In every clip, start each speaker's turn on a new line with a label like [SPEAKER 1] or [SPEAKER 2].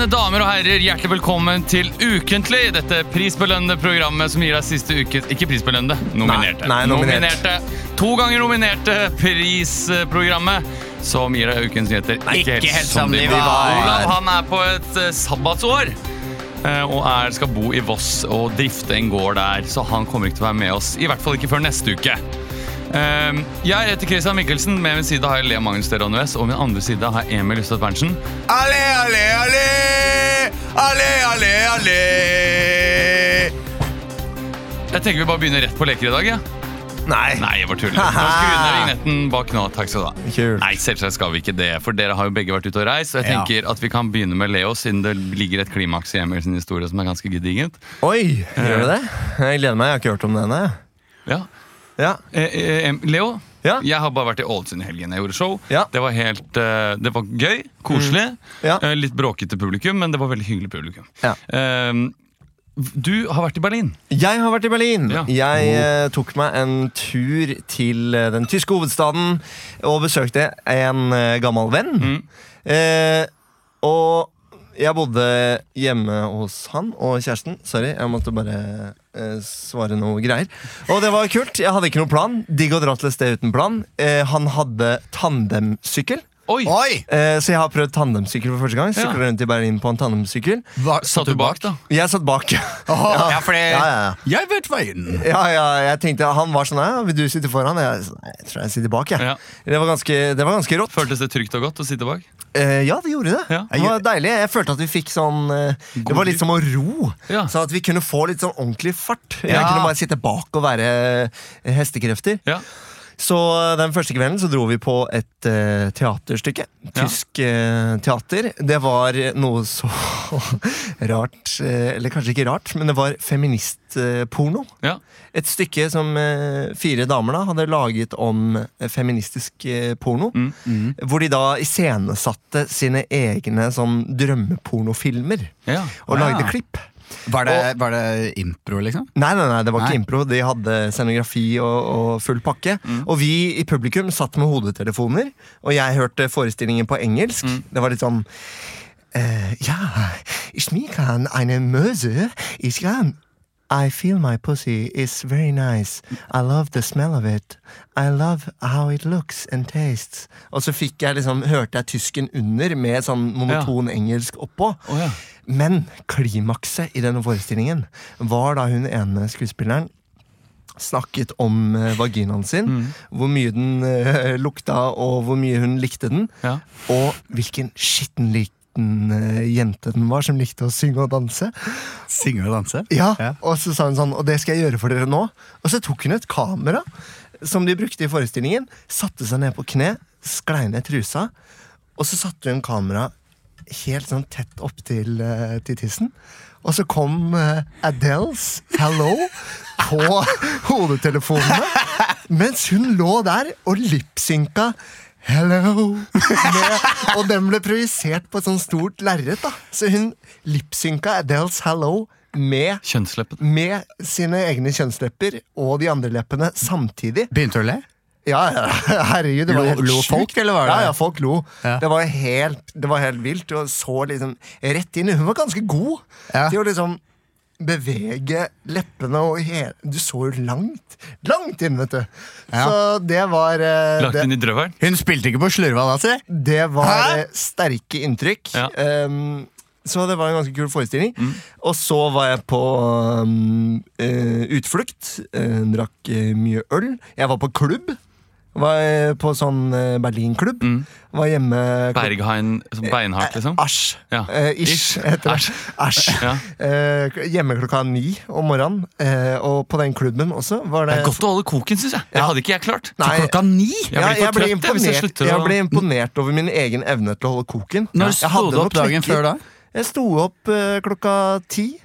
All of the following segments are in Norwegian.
[SPEAKER 1] herrer, hjertelig velkommen til Ukentlig. Dette prisbelønnede programmet som gir deg siste ukes Ikke prisbelønnede, nominerte.
[SPEAKER 2] Nei, nei, nominert.
[SPEAKER 1] nominerte. To ganger nominerte prisprogrammet som gir deg ukens nyheter.
[SPEAKER 3] Ikke helt som de var.
[SPEAKER 1] Olav han er på et eh, sabbatsår. eh, Og er, skal bo i Voss og drifte en gård der, så han kommer ikke til å være med oss. I hvert fall ikke før neste uke. Ehm, Jeg heter Christian Mikkelsen. Med min side har jeg Lea Magnus Deran Wes, og min andre side har jeg Emil Ustad Berntsen.
[SPEAKER 2] Allé, allé, allé! Allé, allé, allé!
[SPEAKER 1] Jeg tenker vi bare begynner rett på leker i dag, ja.
[SPEAKER 2] Nei.
[SPEAKER 1] Nei, jeg bare tuller. Nå skru ned vignetten bak nå. Takk skal du ha.
[SPEAKER 2] Kult.
[SPEAKER 1] Nei, selvsagt skal vi ikke det, for dere har jo begge vært ute og reist. Og jeg
[SPEAKER 3] Ja.
[SPEAKER 1] tenker at vi kan begynne med Leo, siden det ligger et klimaks i Emil sin historie som er ganske gedigent.
[SPEAKER 2] Oi, gjør
[SPEAKER 1] Eh.
[SPEAKER 2] det det? Jeg gleder meg. Jeg har ikke hørt om den ennå.
[SPEAKER 1] Ja.
[SPEAKER 2] Ja.
[SPEAKER 1] Eh, eh, em- Leo,
[SPEAKER 2] Ja.
[SPEAKER 1] jeg har bare vært i Ålesund i helgen. Jeg gjorde show.
[SPEAKER 2] Ja.
[SPEAKER 1] Det var helt eh, Det var gøy, koselig.
[SPEAKER 2] Ja.
[SPEAKER 1] Eh, Litt bråkete publikum, men det var veldig hyggelig publikum.
[SPEAKER 2] Ja.
[SPEAKER 1] Ehm, du har vært i Berlin.
[SPEAKER 2] Jeg har vært i Berlin.
[SPEAKER 1] Ja. Oh.
[SPEAKER 2] Jeg eh, tok meg en tur til eh, den tyske hovedstaden og besøkte en eh, gammel venn.
[SPEAKER 1] Mm.
[SPEAKER 2] Eh, og jeg bodde hjemme hos han og kjæresten. Sorry, jeg måtte bare eh, svare noe greier. Og det var kult. Jeg hadde ikke noen plan. Digg å dra til et sted uten plan. Eh, han hadde tandemsykkel.
[SPEAKER 1] Oi!
[SPEAKER 3] Oi!
[SPEAKER 2] Eh, så jeg har prøvd tandemsykkel for første gang.
[SPEAKER 1] Ja.
[SPEAKER 2] Syklet rundt i Berlin på en tandemsykkel.
[SPEAKER 3] Hva,
[SPEAKER 1] Satt du bak, da?
[SPEAKER 2] Jeg satt bak.
[SPEAKER 3] Åh, ja, fordi
[SPEAKER 2] ja, ja, ja.
[SPEAKER 3] jeg vet veien.
[SPEAKER 2] Ja, ja, jeg tenkte Han var sånn ja, Vil du sitte foran? Jeg, sa, «Nei, jeg tror jeg sitter bak, jeg.
[SPEAKER 1] Ja.
[SPEAKER 2] Det, var ganske, det var ganske rått.
[SPEAKER 1] Føltes det trygt og godt å sitte bak?
[SPEAKER 2] Eh, ja, det gjorde det.
[SPEAKER 1] Ja.
[SPEAKER 2] Det var deilig. Jeg følte at vi fikk sånn eh, Det var litt som å ro.
[SPEAKER 1] Ja.
[SPEAKER 2] Sånn at vi kunne få litt sånn ordentlig fart. Jeg
[SPEAKER 3] Ja.
[SPEAKER 2] kunne bare sitte bak og være eh, hestekrefter.
[SPEAKER 1] Ja.
[SPEAKER 2] Så eh, den første kvelden så dro vi på et eh, teaterstykke.
[SPEAKER 1] Ja.
[SPEAKER 2] Tysk eh, teater. Det var noe så rart eh, Eller kanskje ikke rart, men det var feministporno.
[SPEAKER 1] ja.
[SPEAKER 2] Et stykke som eh, fire damer da hadde laget om eh, feministisk eh, porno.
[SPEAKER 1] Mm,
[SPEAKER 2] Hvor de da iscenesatte sine egne sånn drømmepornofilmer.
[SPEAKER 1] ja.
[SPEAKER 2] Og
[SPEAKER 3] Ah.
[SPEAKER 2] lagde klipp.
[SPEAKER 3] Var det, var det impro, liksom?
[SPEAKER 2] Nei, nei, nei, det var
[SPEAKER 3] Nei.
[SPEAKER 2] ikke impro. De hadde scenografi og, og full pakke. Og vi i publikum satt med hodetelefoner, og jeg hørte forestillingen på engelsk. Det var litt sånn eh, Ja, ich mir kann eine Möse. Ich kann I feel my pussy is very nice. I love the smell of it. I love how it looks and tastes. Og så fikk jeg liksom, hørte jeg tysken under med sånn monoton engelsk oppå.
[SPEAKER 1] Å, ja.
[SPEAKER 2] Men klimakset i denne forestillingen var da hun ene skuespilleren snakket om eh, vaginaen sin,
[SPEAKER 1] Mm.
[SPEAKER 2] hvor mye den eh, lukta, og hvor mye hun likte den,
[SPEAKER 1] Ja.
[SPEAKER 2] og hvilken skitten liten eh, jente den var som likte å synge og danse.
[SPEAKER 3] Synge og danse?
[SPEAKER 2] Ja, Og så sa hun sånn, og det skal jeg gjøre for dere nå. Og så tok hun et kamera som de brukte i forestillingen, satte seg ned på kne, sklei ned trusa, og så satte hun kamera helt sånn tett opp til, eh, til tissen. Og så kom eh, Adeles 'Hello' på hodetelefonene, mens hun lå der og lipsynka 'Hello'. Med, og den ble projisert på et sånt stort lerret. da. Så hun lipsynka Adeles 'Hello' med
[SPEAKER 1] Kjønnsleppen.
[SPEAKER 2] med sine egne kjønnslepper og de andre leppene samtidig.
[SPEAKER 3] Begynte du å le?
[SPEAKER 2] Ja, ja, herregud, det var
[SPEAKER 3] Lo-
[SPEAKER 2] helt
[SPEAKER 3] lo
[SPEAKER 2] sjukt.
[SPEAKER 3] folk, eller var det-
[SPEAKER 2] Ja, ja, folk lo.
[SPEAKER 3] Ja.
[SPEAKER 2] Det, var helt, det var helt vilt. Og så liksom rett inn. Hun var ganske god
[SPEAKER 3] Ja.
[SPEAKER 2] til å liksom bevege leppene og hele Du så jo langt, langt inn, vet du.
[SPEAKER 3] Ja.
[SPEAKER 2] Så det var eh,
[SPEAKER 1] Lagt
[SPEAKER 2] det-
[SPEAKER 1] inn i drøvelen.
[SPEAKER 3] Hun spilte ikke på slurva da, si?
[SPEAKER 2] det var
[SPEAKER 3] Hæ?
[SPEAKER 2] eh, sterke inntrykk.
[SPEAKER 1] Ja. Mm.
[SPEAKER 2] Ehm, så det var en ganske kul forestilling. Og så var jeg på um, eh, utflukt. eh, drakk eh, mye øl. Jeg var på klubb. Var eh, på sånn eh, Berlin-klubb. Var hjemme
[SPEAKER 1] Berghain, sånn beinhardt, Mm. liksom?
[SPEAKER 2] Æsj.
[SPEAKER 1] Ja.
[SPEAKER 2] Eh,
[SPEAKER 1] Ish.
[SPEAKER 2] ish, heter det.
[SPEAKER 1] Æsj.
[SPEAKER 2] Æsj.
[SPEAKER 1] Ja.
[SPEAKER 2] Eh, k- hjemme klokka ni om morgenen. Eh, og på den klubben også var
[SPEAKER 1] Det
[SPEAKER 2] det
[SPEAKER 1] er godt å holde koken, syns jeg. Det hadde ikke jeg klart.
[SPEAKER 2] Nei,
[SPEAKER 3] Klokka ni?
[SPEAKER 1] Jeg
[SPEAKER 2] ja,
[SPEAKER 1] blir for
[SPEAKER 2] jeg, ble
[SPEAKER 1] trøtt, jeg, hvis jeg
[SPEAKER 2] imponert,
[SPEAKER 1] slutter
[SPEAKER 2] jeg
[SPEAKER 1] å-
[SPEAKER 2] ble imponert over min egen evne til å holde koken.
[SPEAKER 3] Når
[SPEAKER 2] Jeg hadde
[SPEAKER 3] sto du
[SPEAKER 2] noen
[SPEAKER 3] opp dagen
[SPEAKER 2] knekker.
[SPEAKER 3] før da?
[SPEAKER 2] Jeg sto opp eh, klokka ti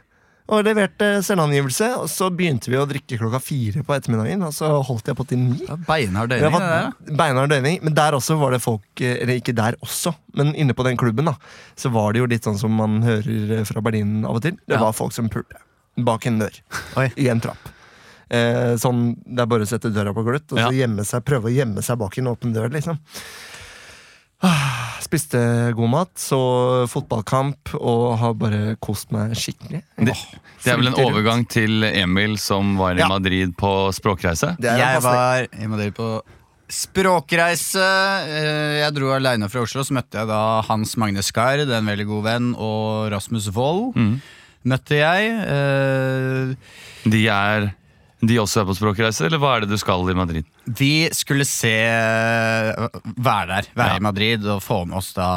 [SPEAKER 2] og leverte selvangivelse. Og så begynte vi å drikke klokka fire på ettermiddagen, og så holdt jeg på til ni.
[SPEAKER 3] Det var Beinhard
[SPEAKER 2] Det
[SPEAKER 3] døgning, det der.
[SPEAKER 2] var
[SPEAKER 3] da.
[SPEAKER 2] beinhard døgning, men der også var det folk eh, Eller ikke der også, men inne på den klubben, da. Så var det jo litt sånn som man hører eh, fra Berlin av og til. Det
[SPEAKER 3] Ja.
[SPEAKER 2] var folk som pulte bak en dør.
[SPEAKER 3] Oi.
[SPEAKER 2] I en trapp. Eh, sånn, Det er bare å sette døra på gløtt og så gjemme seg, prøve å gjemme seg bak en åpen dør, liksom. Ah, spiste god mat, så fotballkamp og har bare kost meg skikkelig.
[SPEAKER 1] Det, det er vel en
[SPEAKER 2] flyter rundt.
[SPEAKER 1] overgang til Emil som var i
[SPEAKER 3] Ja.
[SPEAKER 1] Madrid på språkreise.
[SPEAKER 2] Det er
[SPEAKER 3] jeg
[SPEAKER 2] en passning.
[SPEAKER 3] var i Madrid på språkreise. Eh, Jeg dro aleine fra Oslo, så møtte jeg da Hans Magne Skard, en veldig god venn, og Rasmus Wold.
[SPEAKER 2] Mm.
[SPEAKER 3] Møtte jeg. Eh,
[SPEAKER 1] De er de også er på språkreise, eller hva er det du skal i Madrid?
[SPEAKER 3] Vi skulle se eh, Være der, være
[SPEAKER 1] Ja.
[SPEAKER 3] i Madrid og få med oss da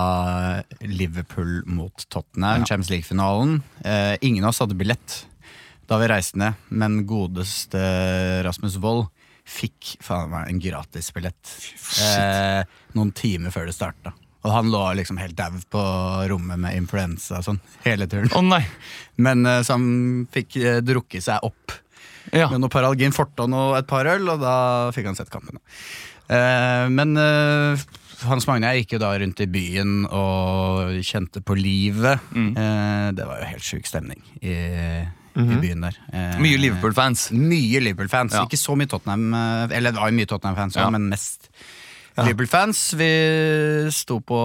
[SPEAKER 3] Liverpool mot Tottenham, Champions League-finalen. Eh, ingen av oss hadde billett da vi reiste ned, men godeste Rasmus Wold fikk faen meg en gratisbillett eh, noen timer før det starta. Og han lå liksom helt dau på rommet med influensa og sånn hele turen.
[SPEAKER 1] Å nei!
[SPEAKER 3] Men eh, så han fikk eh, drukket seg opp
[SPEAKER 1] Ja.
[SPEAKER 3] med noe Paralgin Forton og et par øl, og da fikk han sett kampen. Eh, men eh, Hans Magne og jeg gikk jo da rundt i byen og kjente på livet.
[SPEAKER 1] Mm.
[SPEAKER 3] Eh, det var jo helt sjuk stemning i, i byen der. Eh,
[SPEAKER 1] Mhm. Mye Liverpool-fans.
[SPEAKER 3] Mye Liverpool-fans.
[SPEAKER 1] Ja.
[SPEAKER 3] Ikke så mye Tottenham, eh, eller det var jo mye Tottenham-fans, også,
[SPEAKER 1] Ja.
[SPEAKER 3] men mest Liverpool-fans. Vi sto på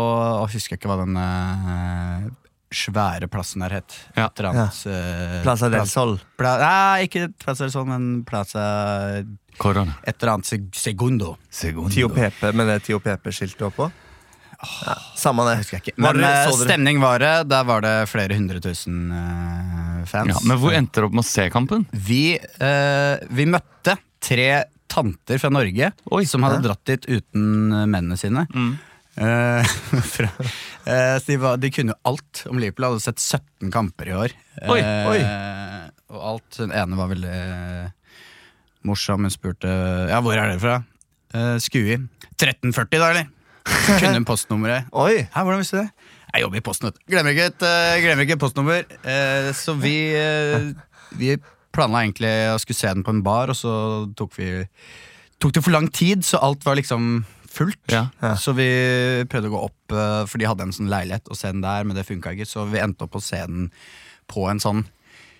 [SPEAKER 3] Jeg husker ikke hva den eh, svære plassen der het.
[SPEAKER 1] Ja.
[SPEAKER 3] Et eller annet, eh,
[SPEAKER 2] Plaza del
[SPEAKER 3] plass-
[SPEAKER 2] Sol.
[SPEAKER 3] Pla nei, ikke Plaza del Sol, men Plaza
[SPEAKER 1] Korona.
[SPEAKER 3] et eller annet seg Segundo. Segundo.
[SPEAKER 2] Tio Pepe med det Tio Pepe-skiltet oppå. Ja, samme det.
[SPEAKER 3] Husker jeg ikke.
[SPEAKER 2] Var
[SPEAKER 3] Men
[SPEAKER 2] dere-
[SPEAKER 3] eh,
[SPEAKER 2] så dere-
[SPEAKER 3] stemning var det. Der var det flere hundre tusen eh, fans.
[SPEAKER 1] Ja, men hvor endte dere opp med å se kampen?
[SPEAKER 3] vi, eh, vi møtte tre tanter fra Norge
[SPEAKER 1] Oi. Mm.
[SPEAKER 3] som hadde
[SPEAKER 2] Hæ?
[SPEAKER 3] dratt dit uten eh, mennene sine. Eh, fra, eh, så de, var, de kunne jo alt om Liverpool. Hadde sett 17 kamper i år.
[SPEAKER 1] Oi,
[SPEAKER 3] Eh,
[SPEAKER 2] oi.
[SPEAKER 3] Og alt. Hun ene var veldig eh, morsom. Hun spurte Ja, hvor er dere fra? Eh, Skui. 1340, da, eller? Kunne hun postnummeret?
[SPEAKER 2] Oi!
[SPEAKER 3] Hæ, hvordan visste du det? Jeg jobber i Posten. vet du. Glemmer ikke et, eh, glemmer ikke et postnummer. Eh, så vi, eh, vi planla egentlig å skulle se den på en bar, og så tok vi Tok det for lang tid, så alt var liksom fullt.
[SPEAKER 1] Ja.
[SPEAKER 2] Ja.
[SPEAKER 3] Så vi prøvde å gå opp, eh, for de hadde en sånn leilighet, og se den der, men det funka ikke. Så vi endte opp å se den på en sånn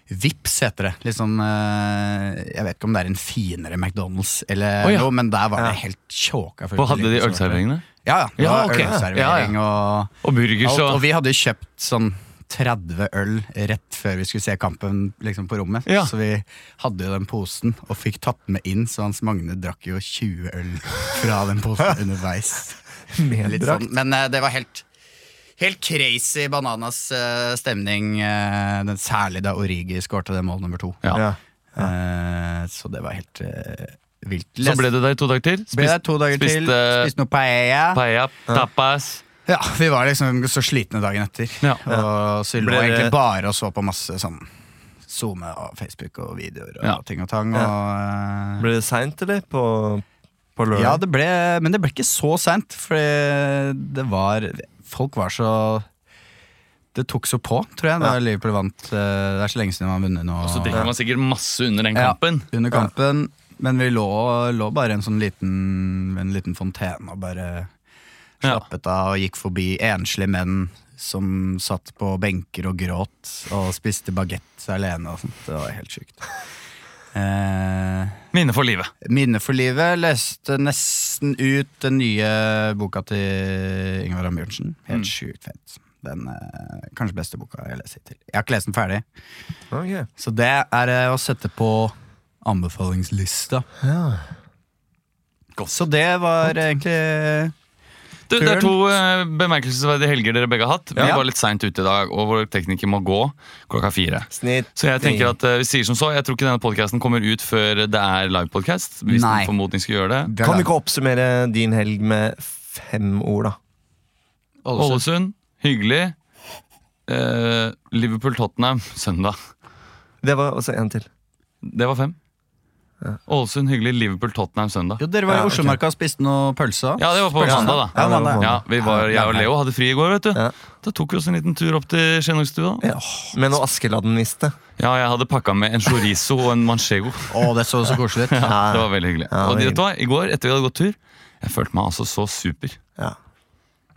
[SPEAKER 3] Vips heter det. Litt sånn, eh, jeg vet ikke om det er en finere McDonald's, eller
[SPEAKER 1] Å, ja.
[SPEAKER 3] noe, men der var
[SPEAKER 2] Ja.
[SPEAKER 3] det helt tjåka. fullt.
[SPEAKER 1] Og hadde de ølserveringene?
[SPEAKER 3] sånn, Ja, ja. Det
[SPEAKER 1] Ja,
[SPEAKER 3] var
[SPEAKER 1] ok.
[SPEAKER 3] Ølservering og
[SPEAKER 1] Og burgers
[SPEAKER 3] Alt, og
[SPEAKER 1] og
[SPEAKER 3] vi hadde jo kjøpt sånn 30 øl rett før vi skulle se kampen liksom på rommet.
[SPEAKER 1] Ja.
[SPEAKER 3] Så vi hadde jo den posen og fikk tatt med inn, så Hans Magne drakk jo 20 øl fra den posen underveis. Litt
[SPEAKER 2] Medbrakt.
[SPEAKER 3] sånn. Men eh, det var helt Helt crazy bananas eh, stemning, eh, den, særlig da Origi skårte det mål nummer to.
[SPEAKER 1] Ja.
[SPEAKER 2] Ja.
[SPEAKER 3] Eh, så det var helt eh, vilt.
[SPEAKER 1] Så ble du der i to dager til?
[SPEAKER 3] Ble der to dager
[SPEAKER 1] spiste,
[SPEAKER 3] til, spiste noe paella.
[SPEAKER 1] paella, tapas
[SPEAKER 3] Ja, vi var liksom så slitne dagen etter.
[SPEAKER 1] Ja.
[SPEAKER 3] Og så vi lå
[SPEAKER 2] Ble det-
[SPEAKER 3] egentlig bare og så på masse sånn SoMe og Facebook og videoer og
[SPEAKER 1] Ja.
[SPEAKER 3] ting og tang. Og, eh,
[SPEAKER 2] Ble det seint, eller? På, på
[SPEAKER 3] ja,
[SPEAKER 2] lørdag?
[SPEAKER 3] det ble, men det ble ikke så seint, for det var Folk var så Det tok så på, tror jeg, da Liverpool vant. eh, Det er så lenge siden man har vunnet nå.
[SPEAKER 1] Så drikker man sikkert masse under den
[SPEAKER 3] Ja,
[SPEAKER 1] kampen.
[SPEAKER 3] under kampen. Men vi lå, lå bare i en sånn liten, en liten fontene og bare
[SPEAKER 1] Ja.
[SPEAKER 3] slappet av og gikk forbi enslige menn som satt på benker og gråt og spiste bagett alene og sånt. Det var helt sjukt. Eh,
[SPEAKER 1] Minne for livet.
[SPEAKER 3] Minne for livet leste nesten ut den nye boka til Ingvar Ambjørnsen. Helt sjukt fett. Den eh, kanskje beste boka jeg leser hittil. Jeg har ikke lest den ferdig,
[SPEAKER 2] Ok.
[SPEAKER 3] så det er eh, å sette på anbefalingslista.
[SPEAKER 2] Ja.
[SPEAKER 3] Så det var egentlig
[SPEAKER 1] Du, det er
[SPEAKER 3] Turen.
[SPEAKER 1] to eh, bemerkelsesverdige helger dere begge har hatt. Vi
[SPEAKER 3] Ja.
[SPEAKER 1] var litt seint ute i dag, og vår tekniker må gå klokka fire.
[SPEAKER 2] Snitt.
[SPEAKER 1] Så jeg tenker at eh, vi sier som så, jeg tror ikke denne podkasten kommer ut før det er livepodkast. Hvis
[SPEAKER 3] Nei.
[SPEAKER 1] den formodning skal gjøre det.
[SPEAKER 2] Kan vi ikke oppsummere din helg med fem ord, da?
[SPEAKER 1] Ålesund, hyggelig. Eh, Liverpool-Tottenham søndag.
[SPEAKER 2] Det var også en til.
[SPEAKER 1] Det var fem. Ålesund, hyggelig. Liverpool-Tottenham søndag.
[SPEAKER 3] Jo, dere var
[SPEAKER 2] Ja,
[SPEAKER 3] i
[SPEAKER 2] ok.
[SPEAKER 3] Oslomarka og spiste noe pølse.
[SPEAKER 1] Ja, det var på
[SPEAKER 3] Pølse.
[SPEAKER 1] mandag, da.
[SPEAKER 3] Ja, mandag.
[SPEAKER 1] Ja, vi var, Jeg og Leo hadde fri i går, vet du.
[SPEAKER 2] Ja.
[SPEAKER 1] Da tok vi oss en liten tur opp til Skienhagstua.
[SPEAKER 2] Med noe Askeladden-niste.
[SPEAKER 1] Ja, jeg hadde pakka med en chorizo og en manchego.
[SPEAKER 3] Å, det så så koselig ut.
[SPEAKER 1] Ja, det var veldig hyggelig.
[SPEAKER 2] Ja,
[SPEAKER 1] og
[SPEAKER 2] det var
[SPEAKER 1] vet du hva, i går, etter vi hadde gått tur, jeg følte meg altså så super.
[SPEAKER 2] Ja.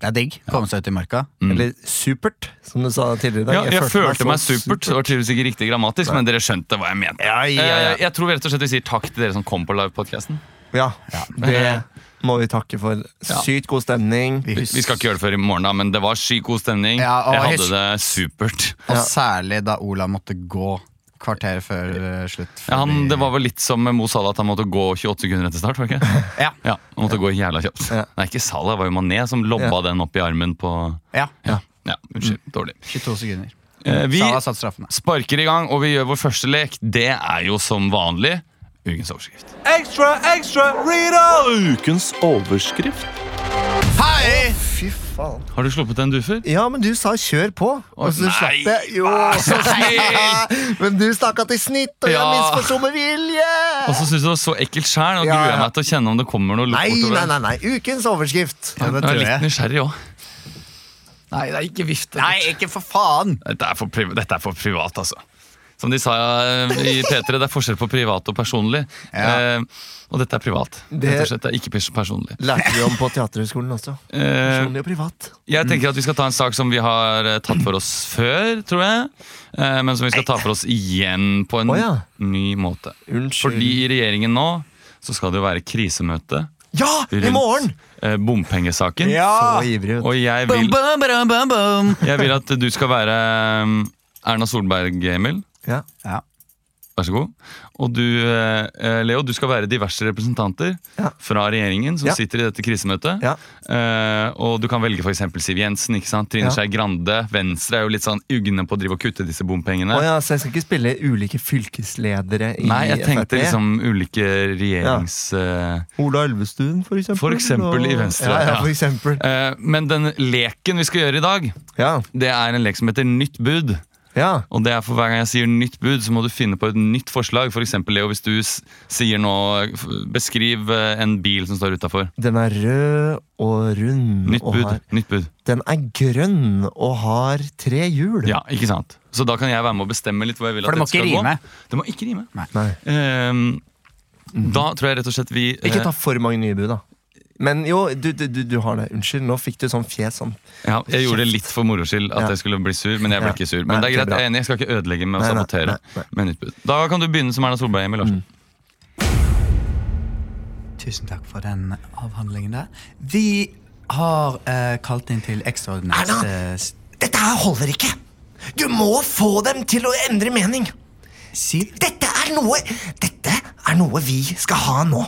[SPEAKER 3] Det er digg. Komme seg ut i marka.
[SPEAKER 2] Eller supert, som du sa tidligere i dag.
[SPEAKER 1] Mm. Ja, jeg, følte meg
[SPEAKER 2] så
[SPEAKER 1] supert. Det var tydeligvis ikke riktig grammatisk, men dere skjønte hva jeg mente.
[SPEAKER 3] ja, ja.
[SPEAKER 1] Eh, Jeg tror vi rett og slett vi sier takk til dere som kom på livepodkasten.
[SPEAKER 2] Ja,
[SPEAKER 3] Ja.
[SPEAKER 2] det må vi takke for. Sykt god stemning.
[SPEAKER 1] Vi vi skal ikke gjøre det før i morgen, da, men det var sykt god stemning.
[SPEAKER 3] Ja, og
[SPEAKER 1] jeg hadde
[SPEAKER 3] husk-
[SPEAKER 1] det supert.
[SPEAKER 3] Og
[SPEAKER 2] Ja.
[SPEAKER 3] særlig da Ola måtte gå kvarteret før eh, slutt.
[SPEAKER 1] Ja, han,
[SPEAKER 3] fordi-
[SPEAKER 1] det var vel litt som Mo Salah, at han måtte gå 28 sekunder etter start. var det ikke?
[SPEAKER 3] ja.
[SPEAKER 1] Ja, han måtte gå jævla kjapt.
[SPEAKER 2] Ja.
[SPEAKER 1] Nei, ikke Salah, det var jo Mané som lobba
[SPEAKER 2] Ja.
[SPEAKER 1] den opp i armen på
[SPEAKER 3] Ja.
[SPEAKER 1] Ja, unnskyld. Dårlig.
[SPEAKER 3] 22 sekunder.
[SPEAKER 1] Eh, vi
[SPEAKER 3] Salah satt straffene.
[SPEAKER 1] sparker i gang, og vi gjør vår første lek. Det er jo som vanlig ukens overskrift.
[SPEAKER 4] Ekstra, ekstra, Rita! Ukens overskrift.
[SPEAKER 3] Hei!
[SPEAKER 2] Fy faen.
[SPEAKER 1] Har du sluppet en dufer?
[SPEAKER 2] Ja, men du sa kjør på, og så
[SPEAKER 1] nei,
[SPEAKER 2] slapp jeg. Jo.
[SPEAKER 1] så snill!
[SPEAKER 2] Men du stakk av til snitt, og jeg
[SPEAKER 1] Ja.
[SPEAKER 2] misforsto med vilje!
[SPEAKER 1] Og så syns du det var så ekkelt sjæl, og
[SPEAKER 2] Ja,
[SPEAKER 1] gruer jeg
[SPEAKER 2] ja.
[SPEAKER 1] meg til å kjenne om det kommer noe
[SPEAKER 2] Nei,
[SPEAKER 1] bortover.
[SPEAKER 2] nei, nei, nei. Ukens overskrift.
[SPEAKER 3] Ja, det
[SPEAKER 1] Jeg er
[SPEAKER 3] tror
[SPEAKER 1] litt
[SPEAKER 3] jeg.
[SPEAKER 1] nysgjerrig òg. Nei, det er ikke vift.
[SPEAKER 3] Nei, ikke for faen!
[SPEAKER 1] Dette er for, priv dette er for privat, altså. Som de sa eh, i P3, det er forskjell på privat og personlig.
[SPEAKER 3] Ja.
[SPEAKER 1] Eh, og dette er privat.
[SPEAKER 2] Det-
[SPEAKER 1] Rett og slett, det er ikke pers- personlig.
[SPEAKER 2] Lærte vi om på Teaterhøgskolen også.
[SPEAKER 1] Eh,
[SPEAKER 2] Personlig og privat.
[SPEAKER 1] jeg tenker at vi skal ta en sak som vi har eh, tatt for oss før, tror jeg. Eh, men som vi skal ta for oss igjen på en
[SPEAKER 2] Å, ja.
[SPEAKER 1] ny måte.
[SPEAKER 2] Unnskyld.
[SPEAKER 1] Fordi i regjeringen nå så skal det jo være krisemøte
[SPEAKER 2] Ja, i
[SPEAKER 1] rundt-
[SPEAKER 2] morgen!
[SPEAKER 1] eh, bompengesaken.
[SPEAKER 2] Så ivrig. ut.
[SPEAKER 1] Og jeg
[SPEAKER 3] Bum,
[SPEAKER 1] vil,
[SPEAKER 3] bum, bum, bum, bum.
[SPEAKER 1] jeg vil at du skal være eh, Erna Solberg, Emil.
[SPEAKER 2] Ja.
[SPEAKER 3] Ja.
[SPEAKER 1] Vær så god. Og du, eh, Leo, du skal være diverse representanter
[SPEAKER 2] Ja.
[SPEAKER 1] fra regjeringen som
[SPEAKER 2] Ja.
[SPEAKER 1] sitter i dette krisemøtet.
[SPEAKER 2] Ja.
[SPEAKER 1] Eh, og du kan velge f.eks. Siv Jensen, ikke sant? Trine
[SPEAKER 2] Ja.
[SPEAKER 1] Skei Grande. Venstre er jo litt sånn ugne på å drive og kutte disse bompengene.
[SPEAKER 2] Å ja, så jeg skal ikke spille ulike fylkesledere i
[SPEAKER 1] Nei, jeg tenkte
[SPEAKER 2] Frp?
[SPEAKER 1] liksom ulike regjerings... eh,
[SPEAKER 2] Ola Elvestuen, for eksempel.
[SPEAKER 1] For eksempel i
[SPEAKER 2] og-
[SPEAKER 1] Venstre,
[SPEAKER 2] Ja, ja,
[SPEAKER 1] ja.
[SPEAKER 2] for eksempel.
[SPEAKER 1] eh, men den leken vi skal gjøre i dag,
[SPEAKER 2] Ja,
[SPEAKER 1] det er en lek som heter Nytt bud.
[SPEAKER 2] ja.
[SPEAKER 1] Og det er for hver gang jeg sier nytt bud, så må du finne på et nytt forslag. For eksempel, Leo, hvis du s sier nå f- Beskriv eh, en bil som står utafor.
[SPEAKER 2] Den er rød og rund.
[SPEAKER 1] Nytt
[SPEAKER 2] og
[SPEAKER 1] bud.
[SPEAKER 2] har-
[SPEAKER 1] Nytt bud.
[SPEAKER 2] Den er grønn og har tre hjul.
[SPEAKER 1] Ja, ikke sant? Så da kan jeg være med å bestemme litt hvor jeg vil
[SPEAKER 3] For
[SPEAKER 1] at
[SPEAKER 3] det må
[SPEAKER 1] dette skal
[SPEAKER 3] ikke rime.
[SPEAKER 1] gå. Det må ikke rime.
[SPEAKER 2] Nei.
[SPEAKER 1] Ehm, Da tror jeg rett og slett vi eh,
[SPEAKER 2] Mhm. Ikke ta for mange nye bud, da. Men jo, du, du, du, du har det. Unnskyld, nå fikk du sånn fjes sånn.
[SPEAKER 1] ja, Jeg gjorde det litt for moro skyld at
[SPEAKER 2] Ja.
[SPEAKER 1] jeg skulle bli sur, men jeg ble
[SPEAKER 2] Ja.
[SPEAKER 1] ikke sur.
[SPEAKER 2] Nei,
[SPEAKER 1] Men det er
[SPEAKER 2] det
[SPEAKER 1] greit,
[SPEAKER 2] er
[SPEAKER 1] jeg
[SPEAKER 2] bra.
[SPEAKER 1] er enig, jeg skal ikke ødelegge med å
[SPEAKER 2] Nei, nei,
[SPEAKER 1] sabotere.
[SPEAKER 2] nei, nei. Mm.
[SPEAKER 1] med nytt bud. Da kan du begynne som Erna Solberg, Emil Larsen.
[SPEAKER 3] Tusen takk for den avhandlingen der. Vi har eh, kalt inn til ekstraordinært
[SPEAKER 2] Erna!
[SPEAKER 3] eh, s-
[SPEAKER 2] Dette her holder ikke! Du må få dem til å endre mening!
[SPEAKER 3] Siv.
[SPEAKER 2] Dette er noe Dette er noe vi skal ha nå.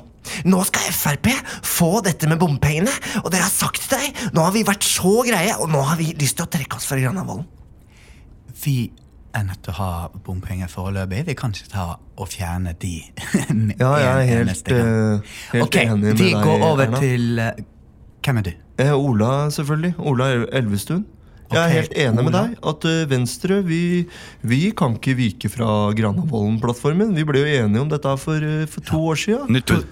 [SPEAKER 2] Nå skal Frp få dette med bompengene, og dere har sagt til deg Nå har vi vært så greie, og nå har vi lyst til å trekke oss fra Granavolden.
[SPEAKER 3] Vi er nødt til å ha bompenger foreløpig. Vi kan ikke ta og fjerne de med
[SPEAKER 2] Ja, jeg er
[SPEAKER 3] en
[SPEAKER 2] helt,
[SPEAKER 3] eneste gang.
[SPEAKER 2] eh, helt
[SPEAKER 3] Ok,
[SPEAKER 2] enig med
[SPEAKER 3] vi
[SPEAKER 2] deg,
[SPEAKER 3] går over
[SPEAKER 2] Erna.
[SPEAKER 3] til eh, Hvem er du?
[SPEAKER 2] Eh, Ola, selvfølgelig. Ola El- Elvestuen. Jeg er
[SPEAKER 3] Ok,
[SPEAKER 2] helt enig med
[SPEAKER 3] Ola.
[SPEAKER 2] deg at eh, Venstre vi, vi kan ikke vike fra Granavolden-plattformen. Vi ble jo enige om dette her for, eh, for to år siden.
[SPEAKER 1] Nytt bud.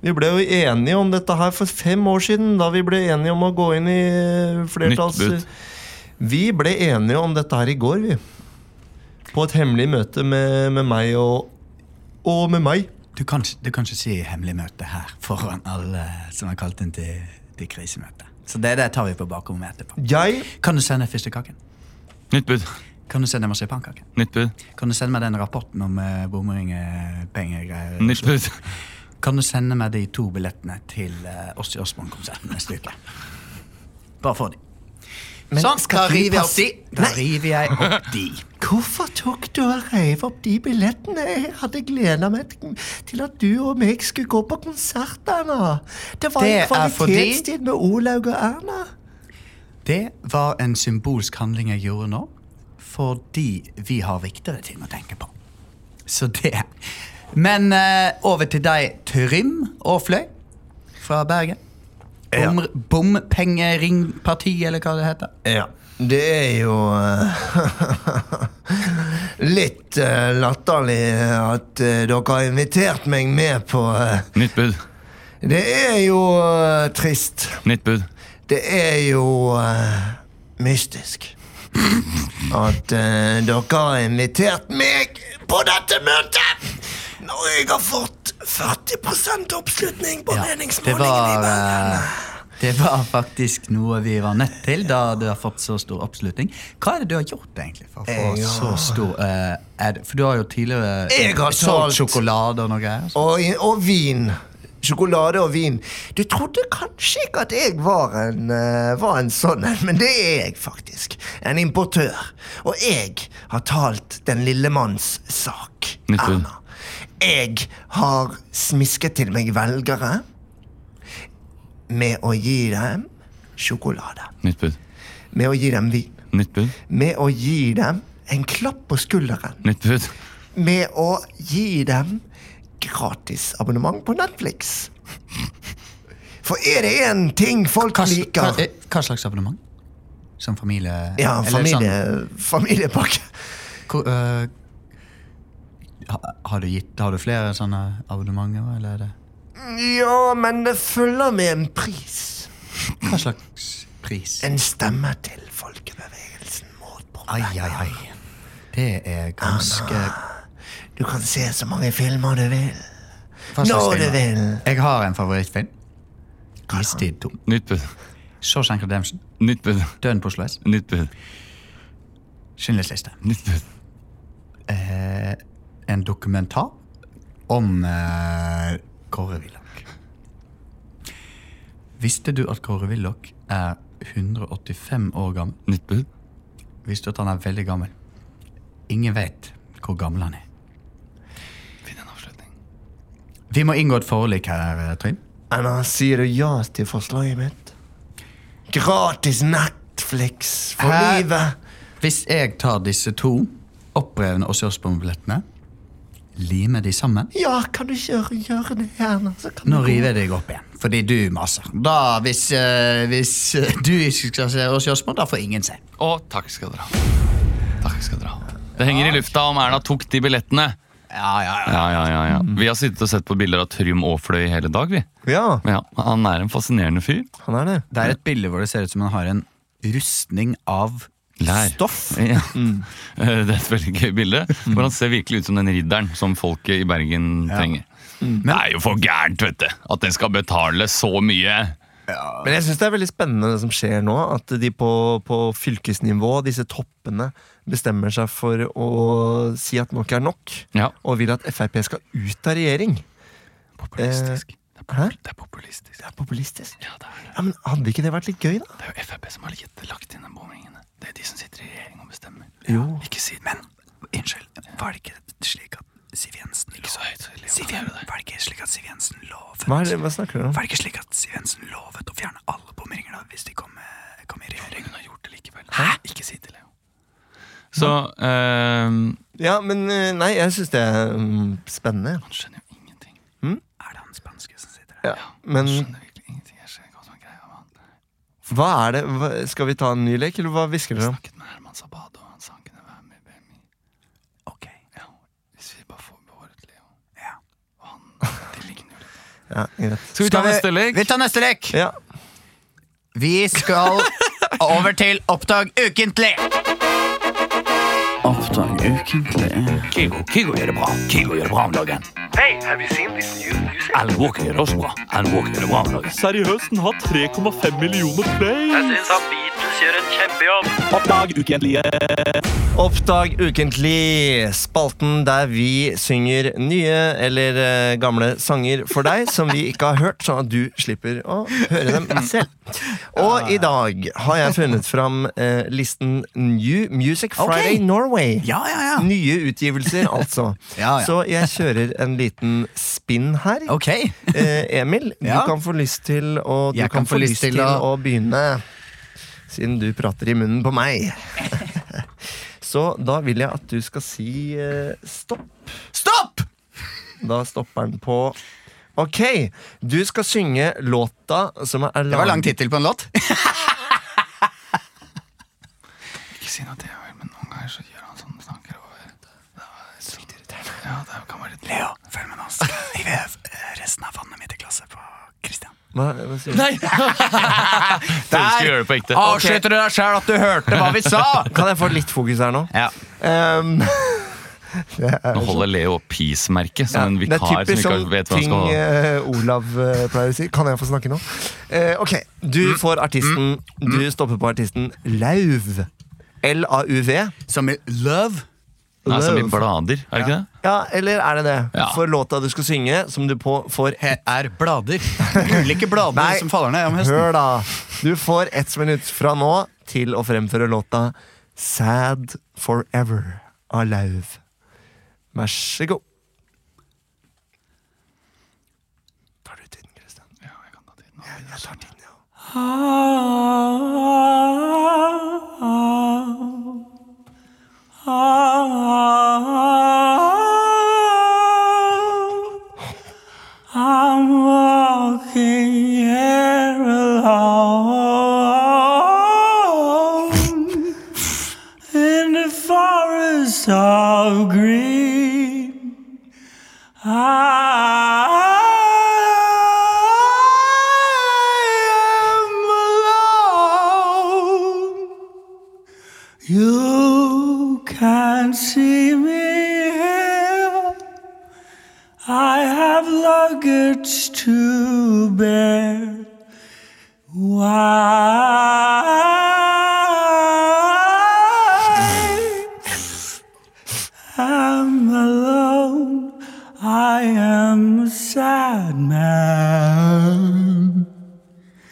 [SPEAKER 2] Vi ble jo enige om dette her for fem år siden, da vi ble enige om å gå inn i eh, flertalls...
[SPEAKER 1] Nytt bud.
[SPEAKER 2] Vi ble enige om dette her i går, vi. På et hemmelig møte med, med meg og Og med meg.
[SPEAKER 3] Du kan, ikke- du kan ikke si hemmelig møte her foran alle som er kalt inn til, til krisemøte. Så det, det tar vi på bakrommet etterpå.
[SPEAKER 2] Jeg
[SPEAKER 3] Kan du sende fyrstekaken?
[SPEAKER 1] Nytt bud.
[SPEAKER 3] Kan du sende marsipankaken?
[SPEAKER 1] Nytt bud.
[SPEAKER 3] Kan du sende meg den rapporten om eh, bomringepengegreier?
[SPEAKER 1] Nytt bud.
[SPEAKER 3] Kan du sende meg de to billettene til eh, Ossi Osborn-konserten neste uke? Bare få de. sånn, da
[SPEAKER 2] skal vi
[SPEAKER 3] river jeg opp
[SPEAKER 2] passe-
[SPEAKER 3] de. Da river jeg opp de.
[SPEAKER 2] Hvorfor tok du og reiv opp de billettene? Jeg hadde gleda meg til- til at du og meg skulle gå på konsert, Erna. Det var
[SPEAKER 3] Det er
[SPEAKER 2] en
[SPEAKER 3] fordi-
[SPEAKER 2] kvalitetstid med Olaug og Erna.
[SPEAKER 3] Det var en symbolsk handling jeg gjorde nå, fordi vi har viktigere ting å tenke på. Så det. Men eh, over til deg, Trym Aafløy fra Bergen. Bom, Bompengeringparti, eller hva det heter.
[SPEAKER 2] Ja, det er jo eh, litt eh, latterlig at eh, dere har invitert meg med på eh,
[SPEAKER 1] Nytt bud.
[SPEAKER 2] Det er jo eh, trist.
[SPEAKER 1] Nytt bud.
[SPEAKER 2] Det er jo eh, mystisk at eh, dere har invitert meg på dette møtet når jeg har fått 40 oppslutning på
[SPEAKER 3] Ja, det
[SPEAKER 2] meningsmålingene i
[SPEAKER 3] var,
[SPEAKER 2] Bergen.
[SPEAKER 3] eh, det var faktisk noe vi var nødt til, da du har fått så stor oppslutning. Hva er det du har gjort egentlig for å få
[SPEAKER 2] Jeg
[SPEAKER 3] så stor eh, er det, For du har jo tidligere
[SPEAKER 2] Jeg har
[SPEAKER 3] solgt
[SPEAKER 2] solgt-
[SPEAKER 3] sjokolade og noe greier. så-
[SPEAKER 2] Og, i- og vin sjokolade og vin. Du trodde kanskje ikke at jeg var en, eh, var en sånn en, men det er jeg faktisk. En importør. Og jeg har talt den lille manns sak.
[SPEAKER 1] Nytt ord.
[SPEAKER 2] Erna. Jeg har smisket til meg velgere med å gi dem sjokolade.
[SPEAKER 1] Nytt bud.
[SPEAKER 2] Med å gi dem vin.
[SPEAKER 1] Nytt bud.
[SPEAKER 2] Med å gi dem en klapp på skulderen
[SPEAKER 1] Nytt bud.
[SPEAKER 2] med å gi dem gratis abonnement på Netflix. For er det én ting folk
[SPEAKER 3] Hva, hva, eh,
[SPEAKER 2] liker
[SPEAKER 3] hva slags abonnement? Som familie...
[SPEAKER 2] Ja,
[SPEAKER 3] eller
[SPEAKER 2] familie, familiepakke.
[SPEAKER 3] sånn- Hvor, øh, ha- har, du gitt, har du flere sånne abonnementer, eller er det
[SPEAKER 2] Ja, men det følger med en pris.
[SPEAKER 3] Hva slags pris?
[SPEAKER 2] En stemme til folkebevegelsen mot
[SPEAKER 3] Ai,
[SPEAKER 2] bomben.
[SPEAKER 3] ai, Ah. ai. Det er ganske
[SPEAKER 2] Du kan se så mange filmer du vil.
[SPEAKER 3] Hva slags
[SPEAKER 2] Når du
[SPEAKER 3] film?
[SPEAKER 2] vil.
[SPEAKER 3] Jeg har en favorittfilm. Istid 2.
[SPEAKER 1] Nytt bud.
[SPEAKER 3] Shawshank Redemption.
[SPEAKER 1] Nytt bud.
[SPEAKER 3] Døden på Oslo S.
[SPEAKER 1] Nytt bud.
[SPEAKER 3] Schindlers liste.
[SPEAKER 1] Nytt bud.
[SPEAKER 3] Eh, en dokumentar om eh, Kåre Willoch. Visste du at Kåre Willoch er 185 år gammel?
[SPEAKER 1] Nytt bud.
[SPEAKER 3] Visste du at han er veldig gammel? Ingen vet hvor gammel han er.
[SPEAKER 1] Finn en avslutning.
[SPEAKER 3] Vi må inngå et forlik her, eh, Trym.
[SPEAKER 2] Anna, sier du ja til forslaget mitt? Gratis Netflix for
[SPEAKER 3] Hæ?
[SPEAKER 2] livet.
[SPEAKER 3] Hvis jeg tar disse to opprevne og sørsbombillettene, limer de sammen
[SPEAKER 2] Ja, kan du ikke gjøre, gjøre det her nå? Så kan
[SPEAKER 3] Nå
[SPEAKER 2] du gå.
[SPEAKER 3] river jeg deg opp igjen, fordi du maser. Da, hvis, eh, hvis eh, du ikke skal se oss gjøre små, da får ingen se.
[SPEAKER 1] Og takk skal dere ha. Takk skal dere ha. Det henger i lufta om Erna tok de billettene.
[SPEAKER 3] Ja, ja, ja.
[SPEAKER 1] Ja, ja, ja, ja. Vi har sittet og sett på bilder av Trym Aafløy hele dag, vi.
[SPEAKER 2] Ja,
[SPEAKER 1] Ja, han er en fascinerende fyr.
[SPEAKER 2] han er det.
[SPEAKER 3] Det er et bilde hvor det ser ut som man har en rustning av
[SPEAKER 1] Lær.
[SPEAKER 3] stoff.
[SPEAKER 1] Ja. Eh, Det er et veldig gøy bilde, hvor han ser virkelig ut som den ridderen som folket i Bergen trenger. Det er jo for gærent, vet du, at den skal betale så mye.
[SPEAKER 2] Men jeg synes det er veldig spennende det som skjer nå. At de på, på fylkesnivå, disse toppene, bestemmer seg for å si at nok er nok.
[SPEAKER 1] Ja.
[SPEAKER 2] Og vil at Frp skal ut av regjering. Eh,
[SPEAKER 1] Populistisk.
[SPEAKER 2] Hæ?
[SPEAKER 1] Det er populistisk.
[SPEAKER 2] Det er populistisk.
[SPEAKER 1] Ja, det er det.
[SPEAKER 2] Ja, men Hadde ikke det vært litt gøy, da?
[SPEAKER 1] Det er jo Frp som har gitt- lagt inn de bomringene. Det er de som sitter i regjering og bestemmer.
[SPEAKER 2] Jo.
[SPEAKER 1] Ikke si
[SPEAKER 3] Men unnskyld, var det ikke slik at Siv Jensen
[SPEAKER 1] ikke så høyt.
[SPEAKER 3] Siv Jensen, var det ikke slik at Siv Jensen lovet
[SPEAKER 2] Hva, er det, hva snakker dere om?
[SPEAKER 3] Var det ikke slik at Siv Jensen lovet å fjerne alle bommeringer da, hvis de kom, eh, kom i regjering? Hun har gjort det likevel. Hæ? Ikke si det, Leo.
[SPEAKER 1] Så ehm,
[SPEAKER 2] Ja, men eh, Nei, jeg syns det er mm, spennende.
[SPEAKER 1] Han skjønner jo ingenting.
[SPEAKER 3] Er det han spanske som sitter her?
[SPEAKER 2] Ja. Men
[SPEAKER 1] Han skjønner virkelig ingenting. Hm? Jeg skjønner ikke hva som er greia med han.
[SPEAKER 2] hva er det? Hva, skal vi ta en ny lek, eller hva hvisker dere om?
[SPEAKER 1] snakket med Herman Sabado, og han sa han kunne være med i BMI.
[SPEAKER 3] Ok.
[SPEAKER 1] Ja, hvis vi bare får behåret Leo.
[SPEAKER 3] Ja.
[SPEAKER 1] Og han, de ligner jo litt.
[SPEAKER 2] Ja, greit.
[SPEAKER 1] Skal vi ta neste lek?
[SPEAKER 3] Vi tar neste lek!
[SPEAKER 2] Ja.
[SPEAKER 3] Vi skal over til Oppdag ukentlig. Oppdag ukentlig.
[SPEAKER 5] Kygo, Kygo gjør det bra. Kygo gjør det bra om dagen. Alan Walker gjør det også bra. Alan Walker gjør det bra om dagen.
[SPEAKER 4] Seriøst, den har 3,5 millioner play. Oppdag ukentlige.
[SPEAKER 2] Oppdag ukentlig, spalten der vi synger nye eller eh, gamle sanger for deg som vi ikke har hørt, sånn at du slipper å høre dem selv. Og i dag har jeg funnet fram eh, listen New Music Friday Norway.
[SPEAKER 3] Ja, ja, ja.
[SPEAKER 2] Nye utgivelser, altså.
[SPEAKER 3] Ja, ja.
[SPEAKER 2] Så jeg kjører en liten spinn her.
[SPEAKER 3] Ok.
[SPEAKER 2] Eh, Emil,
[SPEAKER 3] Ja.
[SPEAKER 2] du kan få lyst til å, du
[SPEAKER 3] Jeg
[SPEAKER 2] kan få lyst til å... begynne, siden du prater i munnen på meg. Så da vil jeg at du skal si eh, stopp.
[SPEAKER 3] Stopp!
[SPEAKER 2] Da stopper den på Ok, du skal synge låta som er
[SPEAKER 3] Det var lang tittel på en låt.
[SPEAKER 1] Ikke si noe til Emil, men noen ganger så gjør han sånn, snakker over. Det er dritirriterende. Ja, det kan være litt
[SPEAKER 3] Leo, følg med oss. Jeg vil resten av vannet mitt i klasse på Kristian.
[SPEAKER 2] Hva, hva sier du?
[SPEAKER 1] skal gjøre det på ekte.
[SPEAKER 3] avslutter du deg sjæl at du hørte hva vi sa!
[SPEAKER 2] Kan jeg få litt fokus her nå?
[SPEAKER 3] Ja.
[SPEAKER 2] Um,
[SPEAKER 1] Nå holder Leo peace-merket som en
[SPEAKER 2] det er
[SPEAKER 1] vikar som
[SPEAKER 2] typisk
[SPEAKER 1] ikke
[SPEAKER 2] sånn
[SPEAKER 1] har- vet hva han
[SPEAKER 2] ting
[SPEAKER 1] skal ha.
[SPEAKER 2] eh, Olav eh, pleier å si. Kan jeg få snakke nå? Eh, ok,
[SPEAKER 1] Mm.
[SPEAKER 2] Du får artisten Du stopper på artisten Lauv. L-A-U-V.
[SPEAKER 3] Som i Love.
[SPEAKER 1] Det er så mye
[SPEAKER 2] Love.
[SPEAKER 1] blader, er det ikke det?
[SPEAKER 2] Ja, eller er det det?
[SPEAKER 1] Ja.
[SPEAKER 2] For låta du skal synge, som du på får
[SPEAKER 3] He er blader. Ulike blader
[SPEAKER 2] Nei,
[SPEAKER 3] som faller ned om høsten.
[SPEAKER 2] Hør, da. Du får ett minutt fra nå til å fremføre låta Sad Forever av Lauv. Vær så god. Tar du tiden, Kristian?
[SPEAKER 1] Ja, jeg kan ta tiden.
[SPEAKER 2] Jeg tar tiden, ja.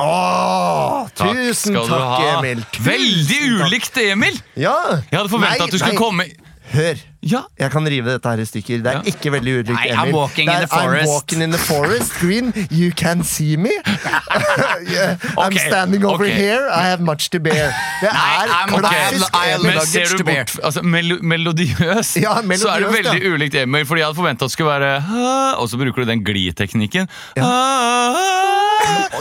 [SPEAKER 2] Åh, tusen
[SPEAKER 1] skal
[SPEAKER 2] takk,
[SPEAKER 1] du ha.
[SPEAKER 2] Emil.
[SPEAKER 1] Veldig ulikt, Emil!
[SPEAKER 2] Ja.
[SPEAKER 1] Jeg hadde forventa
[SPEAKER 2] Nei,
[SPEAKER 1] at du skulle
[SPEAKER 2] nei.
[SPEAKER 1] komme
[SPEAKER 2] Hør.
[SPEAKER 1] Ja,
[SPEAKER 2] Jeg kan rive dette her i stykker. Det er
[SPEAKER 1] Ja.
[SPEAKER 2] ikke veldig ulikt
[SPEAKER 3] Nei,
[SPEAKER 2] Emil.
[SPEAKER 3] I'm walking
[SPEAKER 2] det er
[SPEAKER 3] in the forest.
[SPEAKER 2] I'm walking in the forest, green. You can see me. yeah, I'm
[SPEAKER 1] Ok,
[SPEAKER 2] standing over
[SPEAKER 1] ok.
[SPEAKER 2] here. I have much to bear. Det er
[SPEAKER 3] I'm okay.
[SPEAKER 2] klassisk
[SPEAKER 3] I am- I am-
[SPEAKER 2] Emil.
[SPEAKER 1] men
[SPEAKER 3] luggage
[SPEAKER 1] ser du
[SPEAKER 3] to bear.
[SPEAKER 1] bort altså, melo Melodiøs,
[SPEAKER 2] Ja, melodiøst,
[SPEAKER 1] så er det veldig
[SPEAKER 2] ja.
[SPEAKER 1] ulikt Emil, fordi jeg hadde forventa at det skulle være «Hæ», Og så bruker du den gliteknikken.
[SPEAKER 2] Og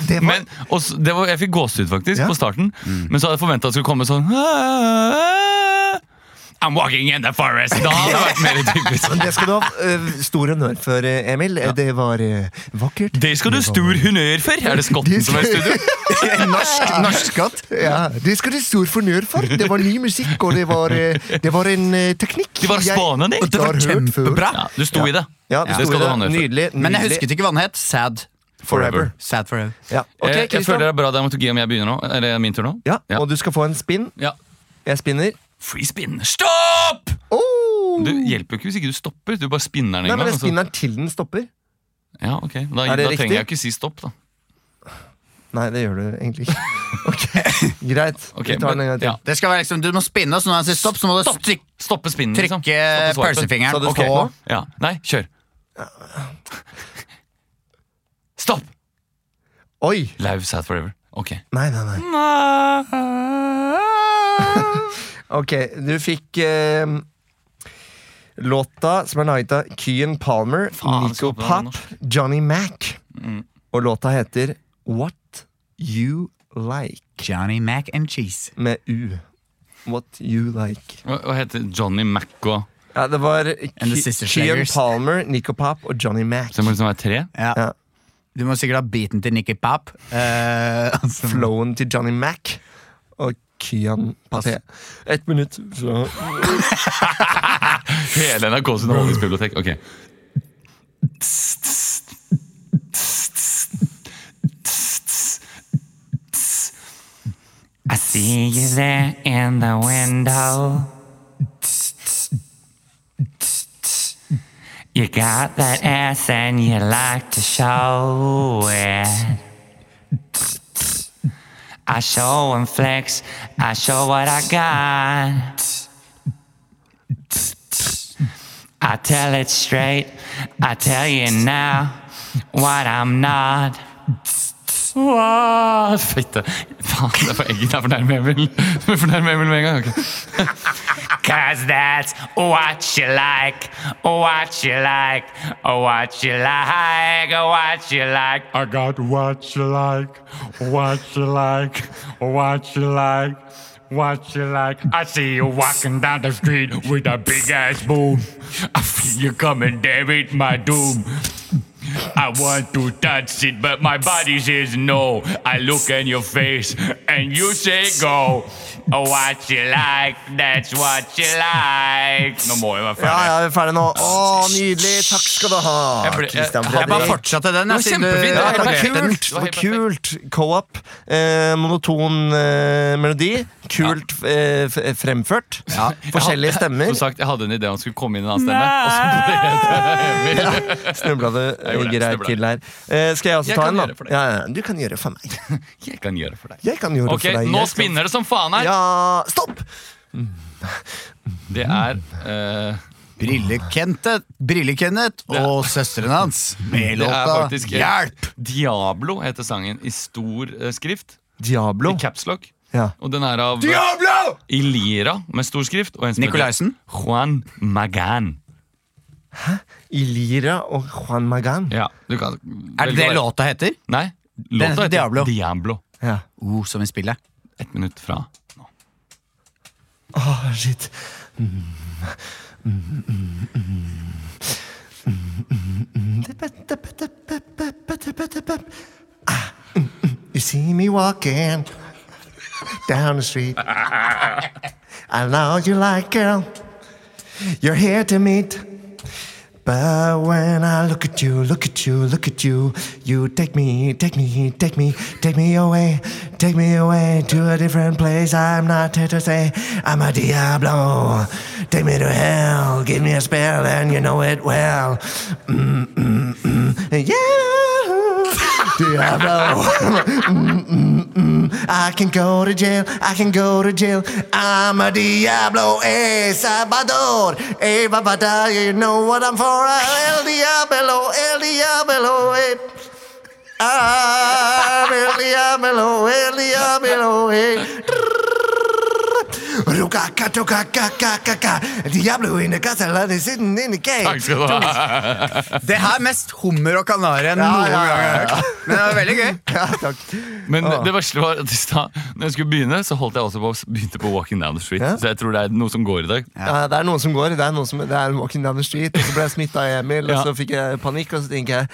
[SPEAKER 2] det var-
[SPEAKER 1] Men, og så, det var, jeg fikk gåsehud faktisk
[SPEAKER 2] Ja. Mm.
[SPEAKER 1] på starten, men så hadde jeg forventa at det skulle komme sånn «Hæ». I'm walking in the forest! Da hadde det vært mer typisk.
[SPEAKER 2] Men det skal du ha eh, stor honnør for, eh, Emil. Det var eh, vakkert.
[SPEAKER 1] Det skal du stor honnør for! Er det skotten som er i studio?
[SPEAKER 2] norsk, norsk skatt. Ja, det skal du ha stor fornøyd for. Det var ny musikk, og det var, eh, det var en eh, teknikk
[SPEAKER 1] Det var
[SPEAKER 2] jeg
[SPEAKER 1] spanende.
[SPEAKER 2] ikke har hørt før.
[SPEAKER 1] Ja, du sto i det.
[SPEAKER 2] Ja, det,
[SPEAKER 1] det
[SPEAKER 2] sto
[SPEAKER 1] skal
[SPEAKER 2] i
[SPEAKER 1] du
[SPEAKER 2] det.
[SPEAKER 1] ha honnør for.
[SPEAKER 2] Nydelig. nydelig.
[SPEAKER 3] Men jeg husket ikke hva den het. Sad.
[SPEAKER 2] Forever.
[SPEAKER 3] Sad forever.
[SPEAKER 2] Ja.
[SPEAKER 1] Eh,
[SPEAKER 2] Ok,
[SPEAKER 1] jeg, jeg
[SPEAKER 2] Christian.
[SPEAKER 1] føler det er bra dramaturgi om jeg begynner nå. Er det min tur nå?
[SPEAKER 2] Ja,
[SPEAKER 1] Ja.
[SPEAKER 2] og du skal få en spinn.
[SPEAKER 1] Ja.
[SPEAKER 2] Jeg spinner.
[SPEAKER 1] Free spin. Stopp!
[SPEAKER 2] Oh!
[SPEAKER 1] Du Altså- hjelper jo ikke hvis ikke du stopper. Du bare spinner den
[SPEAKER 2] Nei,
[SPEAKER 1] en
[SPEAKER 2] men
[SPEAKER 1] gang.
[SPEAKER 2] jeg
[SPEAKER 1] og så-
[SPEAKER 2] spinner den til den stopper.
[SPEAKER 1] Ja, ok. Da,
[SPEAKER 2] Er det
[SPEAKER 1] da
[SPEAKER 2] riktig?
[SPEAKER 1] trenger jeg ikke si stopp, da.
[SPEAKER 2] Nei, det gjør du egentlig ikke. Ok, Greit.
[SPEAKER 1] Ok,
[SPEAKER 2] Vi tar den en gang
[SPEAKER 1] men-
[SPEAKER 2] til.
[SPEAKER 1] ja.
[SPEAKER 3] Det skal være liksom, Du må spinne, og så når han sier stopp, så må du stryk-
[SPEAKER 1] Stoppe spinnen, liksom.
[SPEAKER 3] trykke
[SPEAKER 1] Stoppe swipen.
[SPEAKER 2] Så
[SPEAKER 3] pølsefingeren.
[SPEAKER 2] det
[SPEAKER 1] Ok.
[SPEAKER 2] står-
[SPEAKER 1] Ja. Nei, kjør. Stopp!
[SPEAKER 2] Oi!
[SPEAKER 1] Live sad forever. Ok.
[SPEAKER 2] Nei, nei, nei. Ok, du fikk eh, låta som er laget av Kyan Palmer,
[SPEAKER 1] Faen,
[SPEAKER 2] Nico
[SPEAKER 1] skal det være
[SPEAKER 2] Pop, Johnny Mac.
[SPEAKER 1] Mm.
[SPEAKER 2] Og låta heter What You Like,
[SPEAKER 3] Johnny Mac and cheese.
[SPEAKER 2] med U. What You Like.
[SPEAKER 1] Hva, hva heter Johnny Mac og
[SPEAKER 2] Ja, det var
[SPEAKER 3] And the
[SPEAKER 2] Ki-
[SPEAKER 3] Sister
[SPEAKER 2] Kyan
[SPEAKER 3] Slayers.
[SPEAKER 2] Palmer, Nico Pop og Johnny Mac.
[SPEAKER 1] Så det må liksom være tre?
[SPEAKER 3] Ja.
[SPEAKER 2] Ja.
[SPEAKER 3] Du må sikkert ha beaten til Nicky Pap. Eh, altså,
[SPEAKER 2] flowen til Johnny Mac og Kyan
[SPEAKER 1] Altså,
[SPEAKER 2] Paté. Ett minutt fra
[SPEAKER 1] Hele NRKs underholdningsbibliotek. Ok.
[SPEAKER 6] I see you there in the window. You got that ass and you like to show it. I show and flex, I show what I got. I tell it straight, I tell you now what I'm not.
[SPEAKER 1] Wow, Fitte. Faen, det er for egg. Det er for nærme Emil. Det er for nærme Emil med en gang. ok.
[SPEAKER 6] Cause that's what you like, what you like, what you like, what you like.
[SPEAKER 7] I got what you like, what you like, what you like, what you like. I see you walking down the street with a big ass boom. I feel you coming, damn it, my doom. I want to touch it, but my body says no. I look in your face and you say go. Oh,
[SPEAKER 6] What you like, that's what you like.
[SPEAKER 1] Nå må jeg være
[SPEAKER 2] Ja,
[SPEAKER 1] ferdig.
[SPEAKER 2] ja, vi er ferdig nå. Å, nydelig! Takk skal du ha.
[SPEAKER 1] ble- jeg-
[SPEAKER 2] Christian
[SPEAKER 1] jeg
[SPEAKER 2] Fredrik.
[SPEAKER 3] jeg bare fortsatte den.
[SPEAKER 1] Det var kjempefint,
[SPEAKER 2] Ja,
[SPEAKER 1] det
[SPEAKER 2] det
[SPEAKER 1] var
[SPEAKER 2] var
[SPEAKER 1] helt perfekt. Det
[SPEAKER 2] kult! Det
[SPEAKER 1] var
[SPEAKER 2] var
[SPEAKER 1] helt
[SPEAKER 2] kult. Co-op. Eh, monoton eh, melodi. Kult eh, f- fremført.
[SPEAKER 3] Ja.
[SPEAKER 2] Forskjellige stemmer.
[SPEAKER 1] Som sagt, jeg hadde en idé om han skulle komme inn en annen stemme. Og så ble det Emil.
[SPEAKER 2] Snubla du
[SPEAKER 1] gjorde det,
[SPEAKER 2] greit
[SPEAKER 1] snubla.
[SPEAKER 2] til der. Eh, skal jeg også
[SPEAKER 1] Jeg kan
[SPEAKER 2] ta en,
[SPEAKER 1] gjøre det for
[SPEAKER 2] da?
[SPEAKER 1] deg.
[SPEAKER 2] Ja, ja, du kan gjøre det for meg.
[SPEAKER 1] Jeg kan gjøre det for deg.
[SPEAKER 2] Jeg kan gjøre det
[SPEAKER 1] Ok,
[SPEAKER 2] for deg.
[SPEAKER 1] Nå
[SPEAKER 2] Jeg skal-
[SPEAKER 1] spinner det som faen her.
[SPEAKER 2] Ja, stopp!
[SPEAKER 1] Det er eh,
[SPEAKER 3] Brille-Kenneth Brille Kenneth og søsteren hans med
[SPEAKER 1] Det er
[SPEAKER 3] låta
[SPEAKER 1] faktisk-
[SPEAKER 3] Hjelp!
[SPEAKER 1] Diablo heter sangen i stor eh, skrift.
[SPEAKER 2] Diablo.
[SPEAKER 1] I caps lock.
[SPEAKER 2] Ja.
[SPEAKER 1] Og den er av
[SPEAKER 3] Diablo!
[SPEAKER 1] Ilira med stor skrift. Og en som heter
[SPEAKER 3] Nikolaisen?
[SPEAKER 1] Juan Magan.
[SPEAKER 2] Ilira og Juan Magan.
[SPEAKER 1] Ja, du kan
[SPEAKER 3] Er det det låta heter?
[SPEAKER 1] Nei. Låta
[SPEAKER 3] heter
[SPEAKER 1] heter
[SPEAKER 3] Diablo.
[SPEAKER 1] Diablo. Diablo.
[SPEAKER 2] Ja.
[SPEAKER 3] Oh, som i spillet.
[SPEAKER 1] Ett minutt fra.
[SPEAKER 2] Åh, shit. Ah, mm, mm. You see me walking down the street. I know you like girl. You're here to meet. But when I look at you, look at you, look at you, you take me, take me, take me, take me away, take me away to a different place. I'm not here to say I'm a Diablo. Take me to hell, give me a spell, and you know it well. Mm, mm, mm. Yeah, Diablo. Mm, mm, mm. I can go to jail, I can go to jail. I'm a Diablo, eh, Salvador, eh, Babada, you know what I'm for. El Diablo, El Diablo, eh. I'm El Diablo, El Diablo, eh. Ruka, ka, tuka, ka, ka, ka, ka. Diablo in the castle, and he's sitting in the
[SPEAKER 1] Takk
[SPEAKER 2] cage.
[SPEAKER 1] skal du ha.
[SPEAKER 3] Det her er mest hummer og kanari enn
[SPEAKER 2] Ja,
[SPEAKER 3] noen
[SPEAKER 2] ja,
[SPEAKER 3] gang
[SPEAKER 2] ja,
[SPEAKER 3] jeg har hørt. Men det var veldig gøy.
[SPEAKER 2] Ja, takk.
[SPEAKER 1] Men det- det verste var at i stad, når jeg skulle begynne, så holdt jeg også på å s- begynte på Walking Down the Street.
[SPEAKER 2] Ja.
[SPEAKER 1] Så jeg tror det er noe som går i dag.
[SPEAKER 2] Ja, Eh, det er noen som går, det er noen som det er walking down the street. Og så ble jeg smitta av Emil,
[SPEAKER 1] Ja.
[SPEAKER 2] og så fikk jeg panikk, og så tenker jeg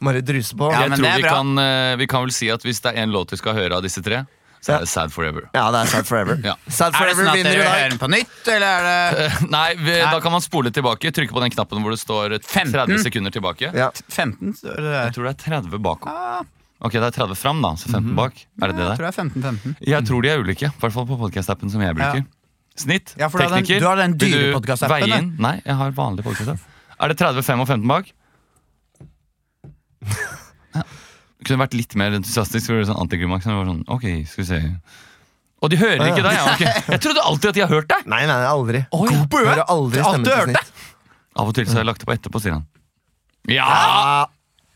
[SPEAKER 2] Mari druse på.
[SPEAKER 3] Ja,
[SPEAKER 1] jeg
[SPEAKER 3] men
[SPEAKER 1] tror
[SPEAKER 3] det er
[SPEAKER 1] vi
[SPEAKER 3] bra.
[SPEAKER 1] kan, eh, vi kan vel si at hvis det er en låt vi skal høre av disse tre, så
[SPEAKER 2] Ja.
[SPEAKER 1] er det Sad Forever.
[SPEAKER 2] Ja, det er Sad Forever.
[SPEAKER 1] Ja.
[SPEAKER 2] Sad
[SPEAKER 3] Er det
[SPEAKER 2] Forever
[SPEAKER 3] sånn at
[SPEAKER 2] vinner i
[SPEAKER 3] dere hører
[SPEAKER 2] dag.
[SPEAKER 3] den på nytt, eller er det
[SPEAKER 1] Eh, Nei, vi, da kan man spole tilbake. Trykke på den knappen hvor det står 30
[SPEAKER 3] 15.
[SPEAKER 1] sekunder tilbake.
[SPEAKER 2] Ja.
[SPEAKER 3] 15? står det der?
[SPEAKER 1] Jeg tror det er 30 bakom. Ok, det er 30 fram, da. Så 15 bak. Er det
[SPEAKER 3] Mhm. Jeg
[SPEAKER 1] det der?
[SPEAKER 3] tror det er 15-15.
[SPEAKER 1] Jeg tror de er ulike. I hvert fall på podkast-appen som jeg bruker.
[SPEAKER 3] Ja.
[SPEAKER 1] Snitt,
[SPEAKER 3] Ja, for du har den-
[SPEAKER 1] tekniker.
[SPEAKER 3] du har den
[SPEAKER 1] vil
[SPEAKER 3] dyre podcast-appen,
[SPEAKER 1] veie
[SPEAKER 3] da.
[SPEAKER 1] inn? Nei, jeg har vanlig podkast-app. Er det 30, 5 og 15 bak? Ja. Kunne vært litt mer entusiastisk. for det er Sånn antiklimaks. men det var Sånn, ok, skal vi se Og de hører ikke deg! Ja, ok. Jeg trodde alltid at de har hørt deg!
[SPEAKER 2] Nei, nei, aldri.
[SPEAKER 1] Oi.
[SPEAKER 2] Hører aldri
[SPEAKER 3] Alt
[SPEAKER 2] stemmen
[SPEAKER 3] du
[SPEAKER 2] til
[SPEAKER 3] hørte?
[SPEAKER 2] snitt.
[SPEAKER 1] Av og til så har jeg lagt det på etterpå, sier han. Ja!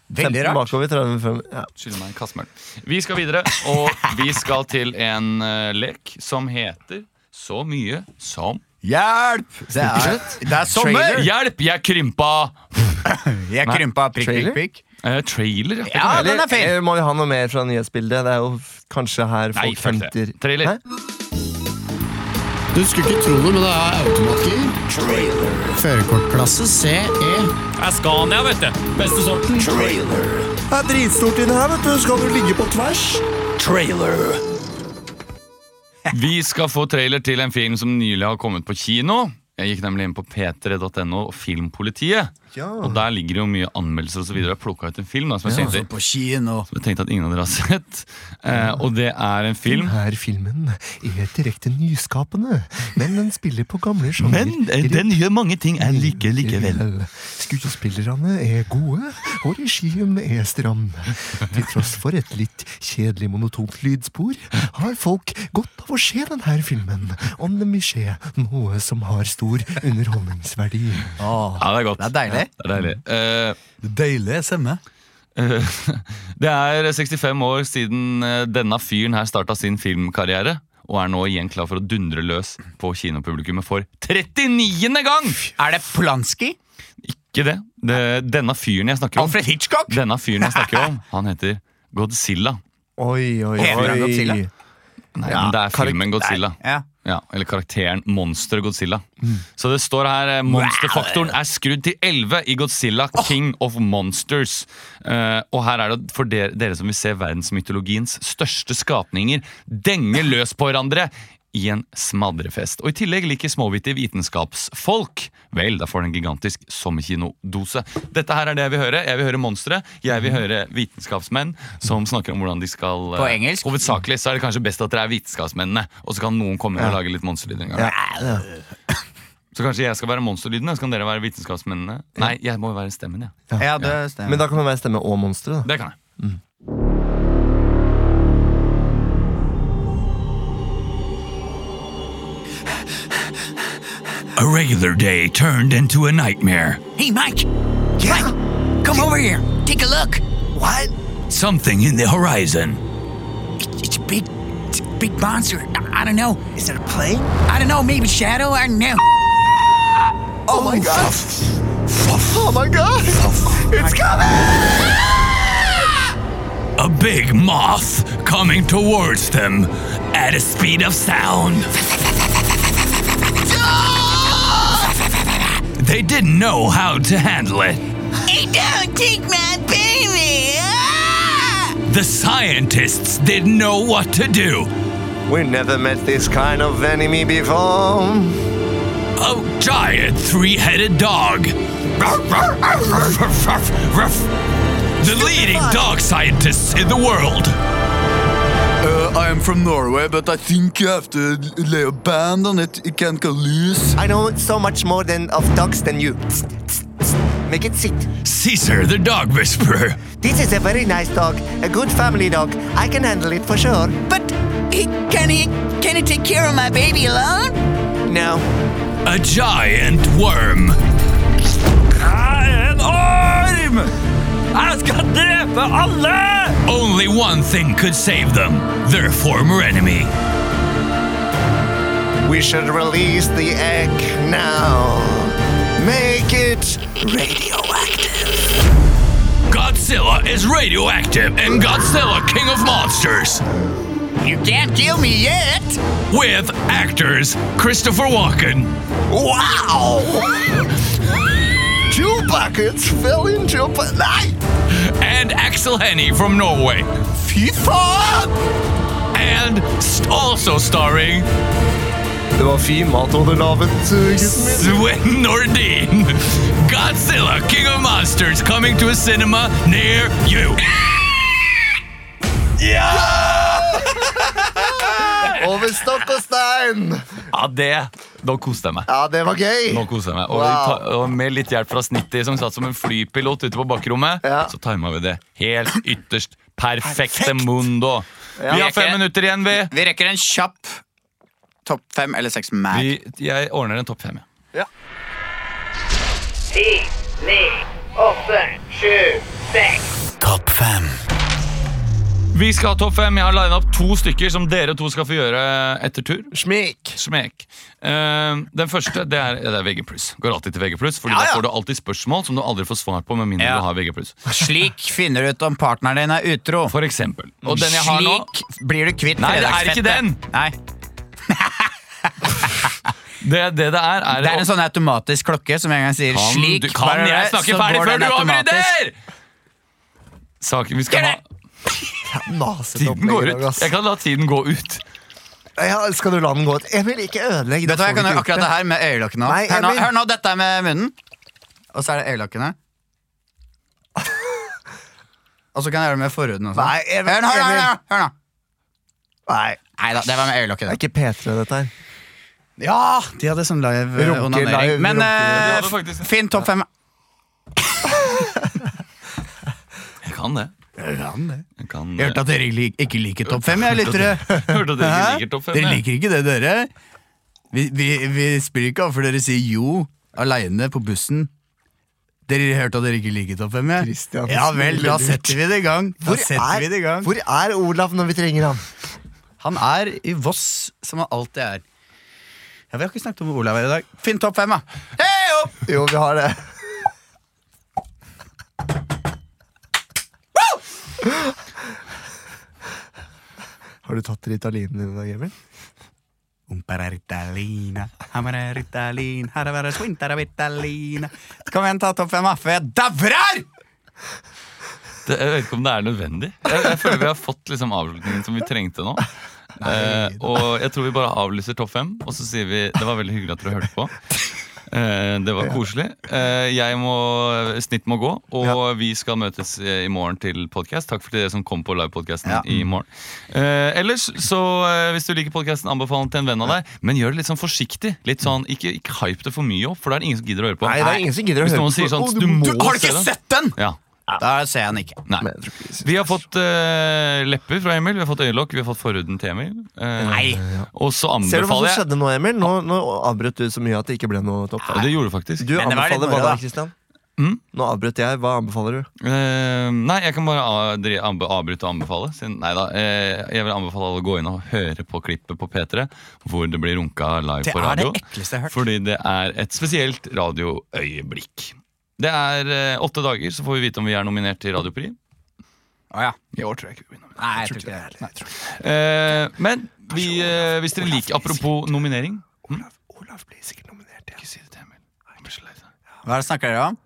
[SPEAKER 3] Veldig
[SPEAKER 2] 15
[SPEAKER 3] rart.
[SPEAKER 2] bakover, 30 frem. Ja.
[SPEAKER 1] Skylder meg en kassemøl. Vi skal videre, og vi skal til en eh, lek som heter så mye som
[SPEAKER 3] Hjelp! Det er, det er sommer!
[SPEAKER 1] Hjelp, jeg krympa!
[SPEAKER 3] Jeg krympa prikk, prikk, prikk.
[SPEAKER 1] Eh, trailer? ja.
[SPEAKER 3] Ja, den
[SPEAKER 2] Eller
[SPEAKER 3] er fin!
[SPEAKER 2] eh, må vi ha noe mer fra nyhetsbildet? Det er jo f- kanskje her
[SPEAKER 1] Nei,
[SPEAKER 2] folk
[SPEAKER 1] fuck
[SPEAKER 2] henter
[SPEAKER 1] det. Trailer.
[SPEAKER 2] Hæ?
[SPEAKER 8] Du skulle ikke tro det, men det er automatgir. Førerkortklasse CE.
[SPEAKER 5] Scania, vet du. Beste sorten. Trailer.
[SPEAKER 2] Det er dritstort inne her, vet du. Skal du ligge på tvers?
[SPEAKER 5] Trailer.
[SPEAKER 1] Vi skal få trailer til en film som nylig har kommet på kino. Jeg gikk nemlig inn på p3.no og Filmpolitiet.
[SPEAKER 2] Ja.
[SPEAKER 1] Og der ligger det jo mye anmeldelser osv. Jeg har plukka ut en film da, som jeg tenkte,
[SPEAKER 3] På kino.
[SPEAKER 1] som jeg tenkte at ingen av dere har sett. Eh, og det er en film
[SPEAKER 2] Denne filmen er direkte nyskapende, men den spiller på gamle sjanger.
[SPEAKER 1] eh, gjør mange ting jeg liker
[SPEAKER 2] Skuespillerne er gode, og regien er stram. Til tross for et litt kjedelig monotont lydspor, har folk godt av å se denne filmen, om de vil se noe som har stor underholdningsverdi.
[SPEAKER 1] Ja, det er godt.
[SPEAKER 3] Det er deilig.
[SPEAKER 1] Det er deilig. Eh,
[SPEAKER 3] Deilig stemme.
[SPEAKER 1] Eh, Det er 65 år siden eh, denne fyren her starta sin filmkarriere. Og er nå igjen klar for å dundre løs på kinopublikummet for 39. gang!
[SPEAKER 3] Er det Polanski?
[SPEAKER 1] Ikke det. det denne fyren jeg snakker om
[SPEAKER 3] Alfred Hitchcock?
[SPEAKER 1] Denne fyren jeg snakker om, han heter Godzilla.
[SPEAKER 2] Oi, oi,
[SPEAKER 3] Heter den Godzilla?
[SPEAKER 1] Nei, men det er filmen Godzilla.
[SPEAKER 3] Ja.
[SPEAKER 1] Ja, Eller karakteren Monster Godzilla.
[SPEAKER 6] Mm.
[SPEAKER 1] Så det står her eh, monsterfaktoren er skrudd til 11 i Godzilla King of Monsters. Eh, og her er det for dere, dere som vil se verdensmytologiens største skapninger denge løs på hverandre i en smadrefest. Og i tillegg liker småvittige vitenskapsfolk Vel, da får den en gigantisk sommerkinodose. Dette her er det jeg vil høre. Jeg vil høre monstre. Jeg vil høre vitenskapsmenn som snakker om hvordan de skal
[SPEAKER 6] Mhm. På
[SPEAKER 1] eh,
[SPEAKER 6] engelsk?
[SPEAKER 1] Hovedsakelig så er det kanskje best at dere er vitenskapsmennene, og så kan noen komme og lage litt monsterlyder en gang. Så kanskje jeg skal være monsterlydene, så kan dere være vitenskapsmennene. Nei, jeg må jo være stemmen, jeg. Ja.
[SPEAKER 3] Ja, det stemmer.
[SPEAKER 2] Men da kan det være stemme og monstre. da.
[SPEAKER 1] Det kan jeg.
[SPEAKER 5] A regular day turned into a nightmare.
[SPEAKER 9] Hey, Mike. Mike, come over here. Take a look.
[SPEAKER 2] What?
[SPEAKER 5] Something in the horizon.
[SPEAKER 9] It- It's a big, it's a big monster. I, I don't know.
[SPEAKER 2] Is it a plane?
[SPEAKER 9] I don't know. Maybe shadow. I don't know.
[SPEAKER 2] Oh my god! Oh my god! It's coming!
[SPEAKER 5] A big moth coming towards them at a speed of sound. They didn't know how to handle it.
[SPEAKER 9] Hey, don't take my baby. Ah!
[SPEAKER 5] The scientists didn't know what to do.
[SPEAKER 2] We never met this kind of enemy before.
[SPEAKER 5] A giant three-headed dog. The leading dog scientists in the world.
[SPEAKER 3] Uh, I am from Norway, but I think you have to lay a band on it. It can go loose.
[SPEAKER 2] I know so much more than of dogs than you. Tss, tss, tss. Make it sit.
[SPEAKER 5] Caesar, the dog whisperer.
[SPEAKER 2] This is a very nice dog, a good family dog. I can handle it for sure.
[SPEAKER 9] But he, can he can he take care of my baby alone?
[SPEAKER 2] No.
[SPEAKER 5] A giant worm. En orm! Jeg skal drepe alle! Only one thing could save them. Their former enemy.
[SPEAKER 2] We should release the egg now. Make it radioactive.
[SPEAKER 5] Godzilla is radioactive and Godzilla King of Monsters.
[SPEAKER 9] You can't kill me yet.
[SPEAKER 5] With actors Christopher Walken,
[SPEAKER 2] Wow! Two buckets fell into a bu- Nei!
[SPEAKER 5] and Axel Hennie from Norway. FIFA! And st- also starring
[SPEAKER 2] Det var fin mat du hadde laget, eh, gutten min.
[SPEAKER 5] Sven Nordin. Godzilla, King of Monsters, coming to a cinema near you.
[SPEAKER 2] Over stokk og stein!
[SPEAKER 1] Ja, det Nå koste jeg meg.
[SPEAKER 2] Ja, det var gøy.
[SPEAKER 1] Nå koser jeg meg. Og,
[SPEAKER 2] Wow.
[SPEAKER 1] vi ta, og med litt hjelp fra Snitty, som satt som en flypilot ute på bakrommet,
[SPEAKER 2] Ja.
[SPEAKER 1] så tima vi det helt ytterst. Perfekte mundo. Vi har fem minutter igjen, vi.
[SPEAKER 3] Vi rekker en kjapp topp fem eller seks mer.
[SPEAKER 1] vi jeg ordner en topp fem. Ja.
[SPEAKER 3] Topp fem.
[SPEAKER 1] Vi skal ha topp fem. Jeg har lina opp to stykker som dere to skal få gjøre etter tur.
[SPEAKER 2] Smik.
[SPEAKER 1] Smek. Eh, den første det er, det er VG+. Går alltid til VG+, Fordi da får du alltid spørsmål som du aldri får svar på med mindre
[SPEAKER 3] Ja.
[SPEAKER 1] du har VG+.
[SPEAKER 3] Slik finner du ut om partneren din er utro.
[SPEAKER 1] For eksempel. Og den jeg har nå
[SPEAKER 3] Slik blir du kvitt
[SPEAKER 1] Nei, det er ikke den.
[SPEAKER 3] fredagsfettet. Nei,
[SPEAKER 1] Det det, det er, er
[SPEAKER 3] det er en sånn automatisk klokke som en gang sier
[SPEAKER 1] Kan,
[SPEAKER 3] slik.
[SPEAKER 1] du, kan
[SPEAKER 3] bare-
[SPEAKER 1] jeg snakke
[SPEAKER 3] så
[SPEAKER 1] ferdig
[SPEAKER 3] går
[SPEAKER 1] før
[SPEAKER 3] den
[SPEAKER 1] du
[SPEAKER 3] automatisk.
[SPEAKER 1] avbryter?! Saken vi skal ha
[SPEAKER 2] Masete
[SPEAKER 1] Tiden går
[SPEAKER 2] opplegg i
[SPEAKER 1] ut.
[SPEAKER 2] dag, ass.
[SPEAKER 1] Jeg kan la tiden gå ut.
[SPEAKER 2] Ja, skal du la den gå ut? Jeg vil ikke ødelegge.
[SPEAKER 3] Vet du hva, jeg kan gjøre akkurat det her med øyelokkene
[SPEAKER 2] Nei,
[SPEAKER 3] også. Hør nå,
[SPEAKER 2] Emil.
[SPEAKER 3] hør nå, dette er med munnen. Og så er det øyelokkene. Og så kan jeg gjøre det med forhuden også.
[SPEAKER 2] Nei, Emil,
[SPEAKER 3] hør nå, hør nå, hør nå,
[SPEAKER 2] Emil.
[SPEAKER 3] hør nå.
[SPEAKER 2] Nei,
[SPEAKER 3] Nei da, det var med øyelokket. da.
[SPEAKER 2] det er ikke P3 dette her.
[SPEAKER 3] Ja, de hadde sånn live eh,
[SPEAKER 2] Runke, live
[SPEAKER 3] onanering. Men
[SPEAKER 2] runke.
[SPEAKER 3] eh,
[SPEAKER 1] De hadde faktisk det.
[SPEAKER 3] finn topp fem.
[SPEAKER 1] Jeg kan det. Jeg kan eh,
[SPEAKER 3] Jeg hørte at dere li- ikke liker topp fem, jeg, lyttere.
[SPEAKER 1] Hørte at dere ikke
[SPEAKER 3] Hæ?
[SPEAKER 1] liker topp fem.
[SPEAKER 3] Dere
[SPEAKER 1] jeg.
[SPEAKER 3] liker ikke det, dere. Vi, vi, vi spiller ikke av, for dere sier jo aleine på bussen. Dere hørte at dere ikke liker topp fem? jeg?
[SPEAKER 2] Christian,
[SPEAKER 3] Ja vel, da setter vi det i gang. Da
[SPEAKER 2] Hvor
[SPEAKER 3] setter vi det i
[SPEAKER 2] er,
[SPEAKER 3] gang.
[SPEAKER 2] hvor er Olav når vi trenger ham?
[SPEAKER 3] Han er i Voss, som han alltid er. Ja, Vi har ikke snakket om Olav her i dag. Finn topp fem, da! Hei, opp!
[SPEAKER 2] Jo, vi har det. Har du tatt Ritalinen din i dag, Emil?
[SPEAKER 3] Umpara ritalina, hamara ritalin, haravara swintara ritalina. Kom igjen, ta topp fem, da, før jeg dauer her!
[SPEAKER 1] Det- Jeg vet ikke om det er nødvendig. Jeg, jeg føler vi har fått liksom avslutningen som vi trengte nå. Eh, og jeg tror vi bare avlyser topp fem, og så sier vi det var veldig hyggelig at dere hørte på. Eh, det var koselig. Eh, jeg må, snitt må gå, og vi skal møtes eh, i morgen til podkast. Takk for dere som kom på livepodkasten
[SPEAKER 3] Ja.
[SPEAKER 1] i morgen. Eh, ellers, så eh, hvis du liker podkasten, anbefal den til en venn av deg. Men gjør det litt sånn forsiktig. Litt sånn, ikke, ikke hype det for mye opp, for da er det ingen som gidder å høre på.
[SPEAKER 2] Nei, det er ingen som gidder å
[SPEAKER 1] Hvis
[SPEAKER 2] høre
[SPEAKER 1] noen
[SPEAKER 2] på.
[SPEAKER 1] sier sånn,
[SPEAKER 2] Å,
[SPEAKER 1] du må
[SPEAKER 3] Har du
[SPEAKER 1] se
[SPEAKER 3] ikke
[SPEAKER 1] den.
[SPEAKER 3] sett den?!
[SPEAKER 1] Ja,
[SPEAKER 3] Da ser jeg den ikke.
[SPEAKER 1] nei
[SPEAKER 2] Men jeg tror ikke-
[SPEAKER 1] vi har fått eh, lepper fra Emil, vi har fått øyelokk, vi har fått forhuden til Emil. Eh, Og så
[SPEAKER 2] Ser du
[SPEAKER 1] anbefaler
[SPEAKER 2] hva som
[SPEAKER 1] jeg
[SPEAKER 2] skjedde nå, Emil? Nå, nå avbrøt du så mye at det ikke ble noe topp.
[SPEAKER 1] Ja, Det gjorde du faktisk.
[SPEAKER 2] Du
[SPEAKER 3] Men det var litt
[SPEAKER 2] anbefaler hva
[SPEAKER 3] moro,
[SPEAKER 2] da,
[SPEAKER 3] da.
[SPEAKER 2] Kristian?
[SPEAKER 1] Mm?
[SPEAKER 2] Nå avbrøt jeg. Hva anbefaler du?
[SPEAKER 1] Eh, nei, jeg kan bare a- dri- anbe- avbryte og anbefale. Siden, nei da, eh, jeg vil anbefale alle å gå inn og høre på klippet på P3, hvor det blir runka live
[SPEAKER 3] Det
[SPEAKER 1] på
[SPEAKER 3] er det
[SPEAKER 1] radio.
[SPEAKER 3] ekleste jeg har hørt.
[SPEAKER 1] Fordi det er et spesielt radioøyeblikk. Det er eh, åtte dager, så får vi vite om vi er nominert til Radiopri.
[SPEAKER 3] Å, ja.
[SPEAKER 1] I år tror jeg ikke vi blir nominert.
[SPEAKER 3] Nei, jeg tror ikke det. er det.
[SPEAKER 1] Eh, men vi, eh, hvis dere liker Apropos nominering Mm?
[SPEAKER 2] Olav blir sikkert nominert.
[SPEAKER 1] Ikke si det til Emil. Han blir så lei seg.
[SPEAKER 3] Hva er det snakker dere om?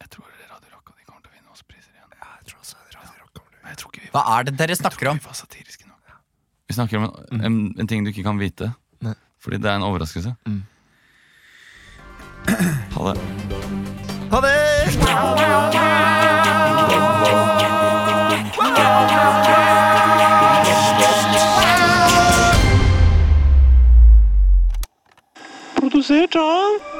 [SPEAKER 1] Jeg tror Radio Rock og de kommer til å vinne oss priser igjen. Ja, jeg tror også Radio Rock kommer til å vinne. Men jeg tror ikke vi
[SPEAKER 3] Hva er det dere snakker om?
[SPEAKER 1] var satiriske nok. Vi snakker om en, en, en ting du ikke kan vite.
[SPEAKER 2] Nei.
[SPEAKER 1] Fordi det er en overraskelse. Ha det.
[SPEAKER 2] Ha det!
[SPEAKER 4] Produsert av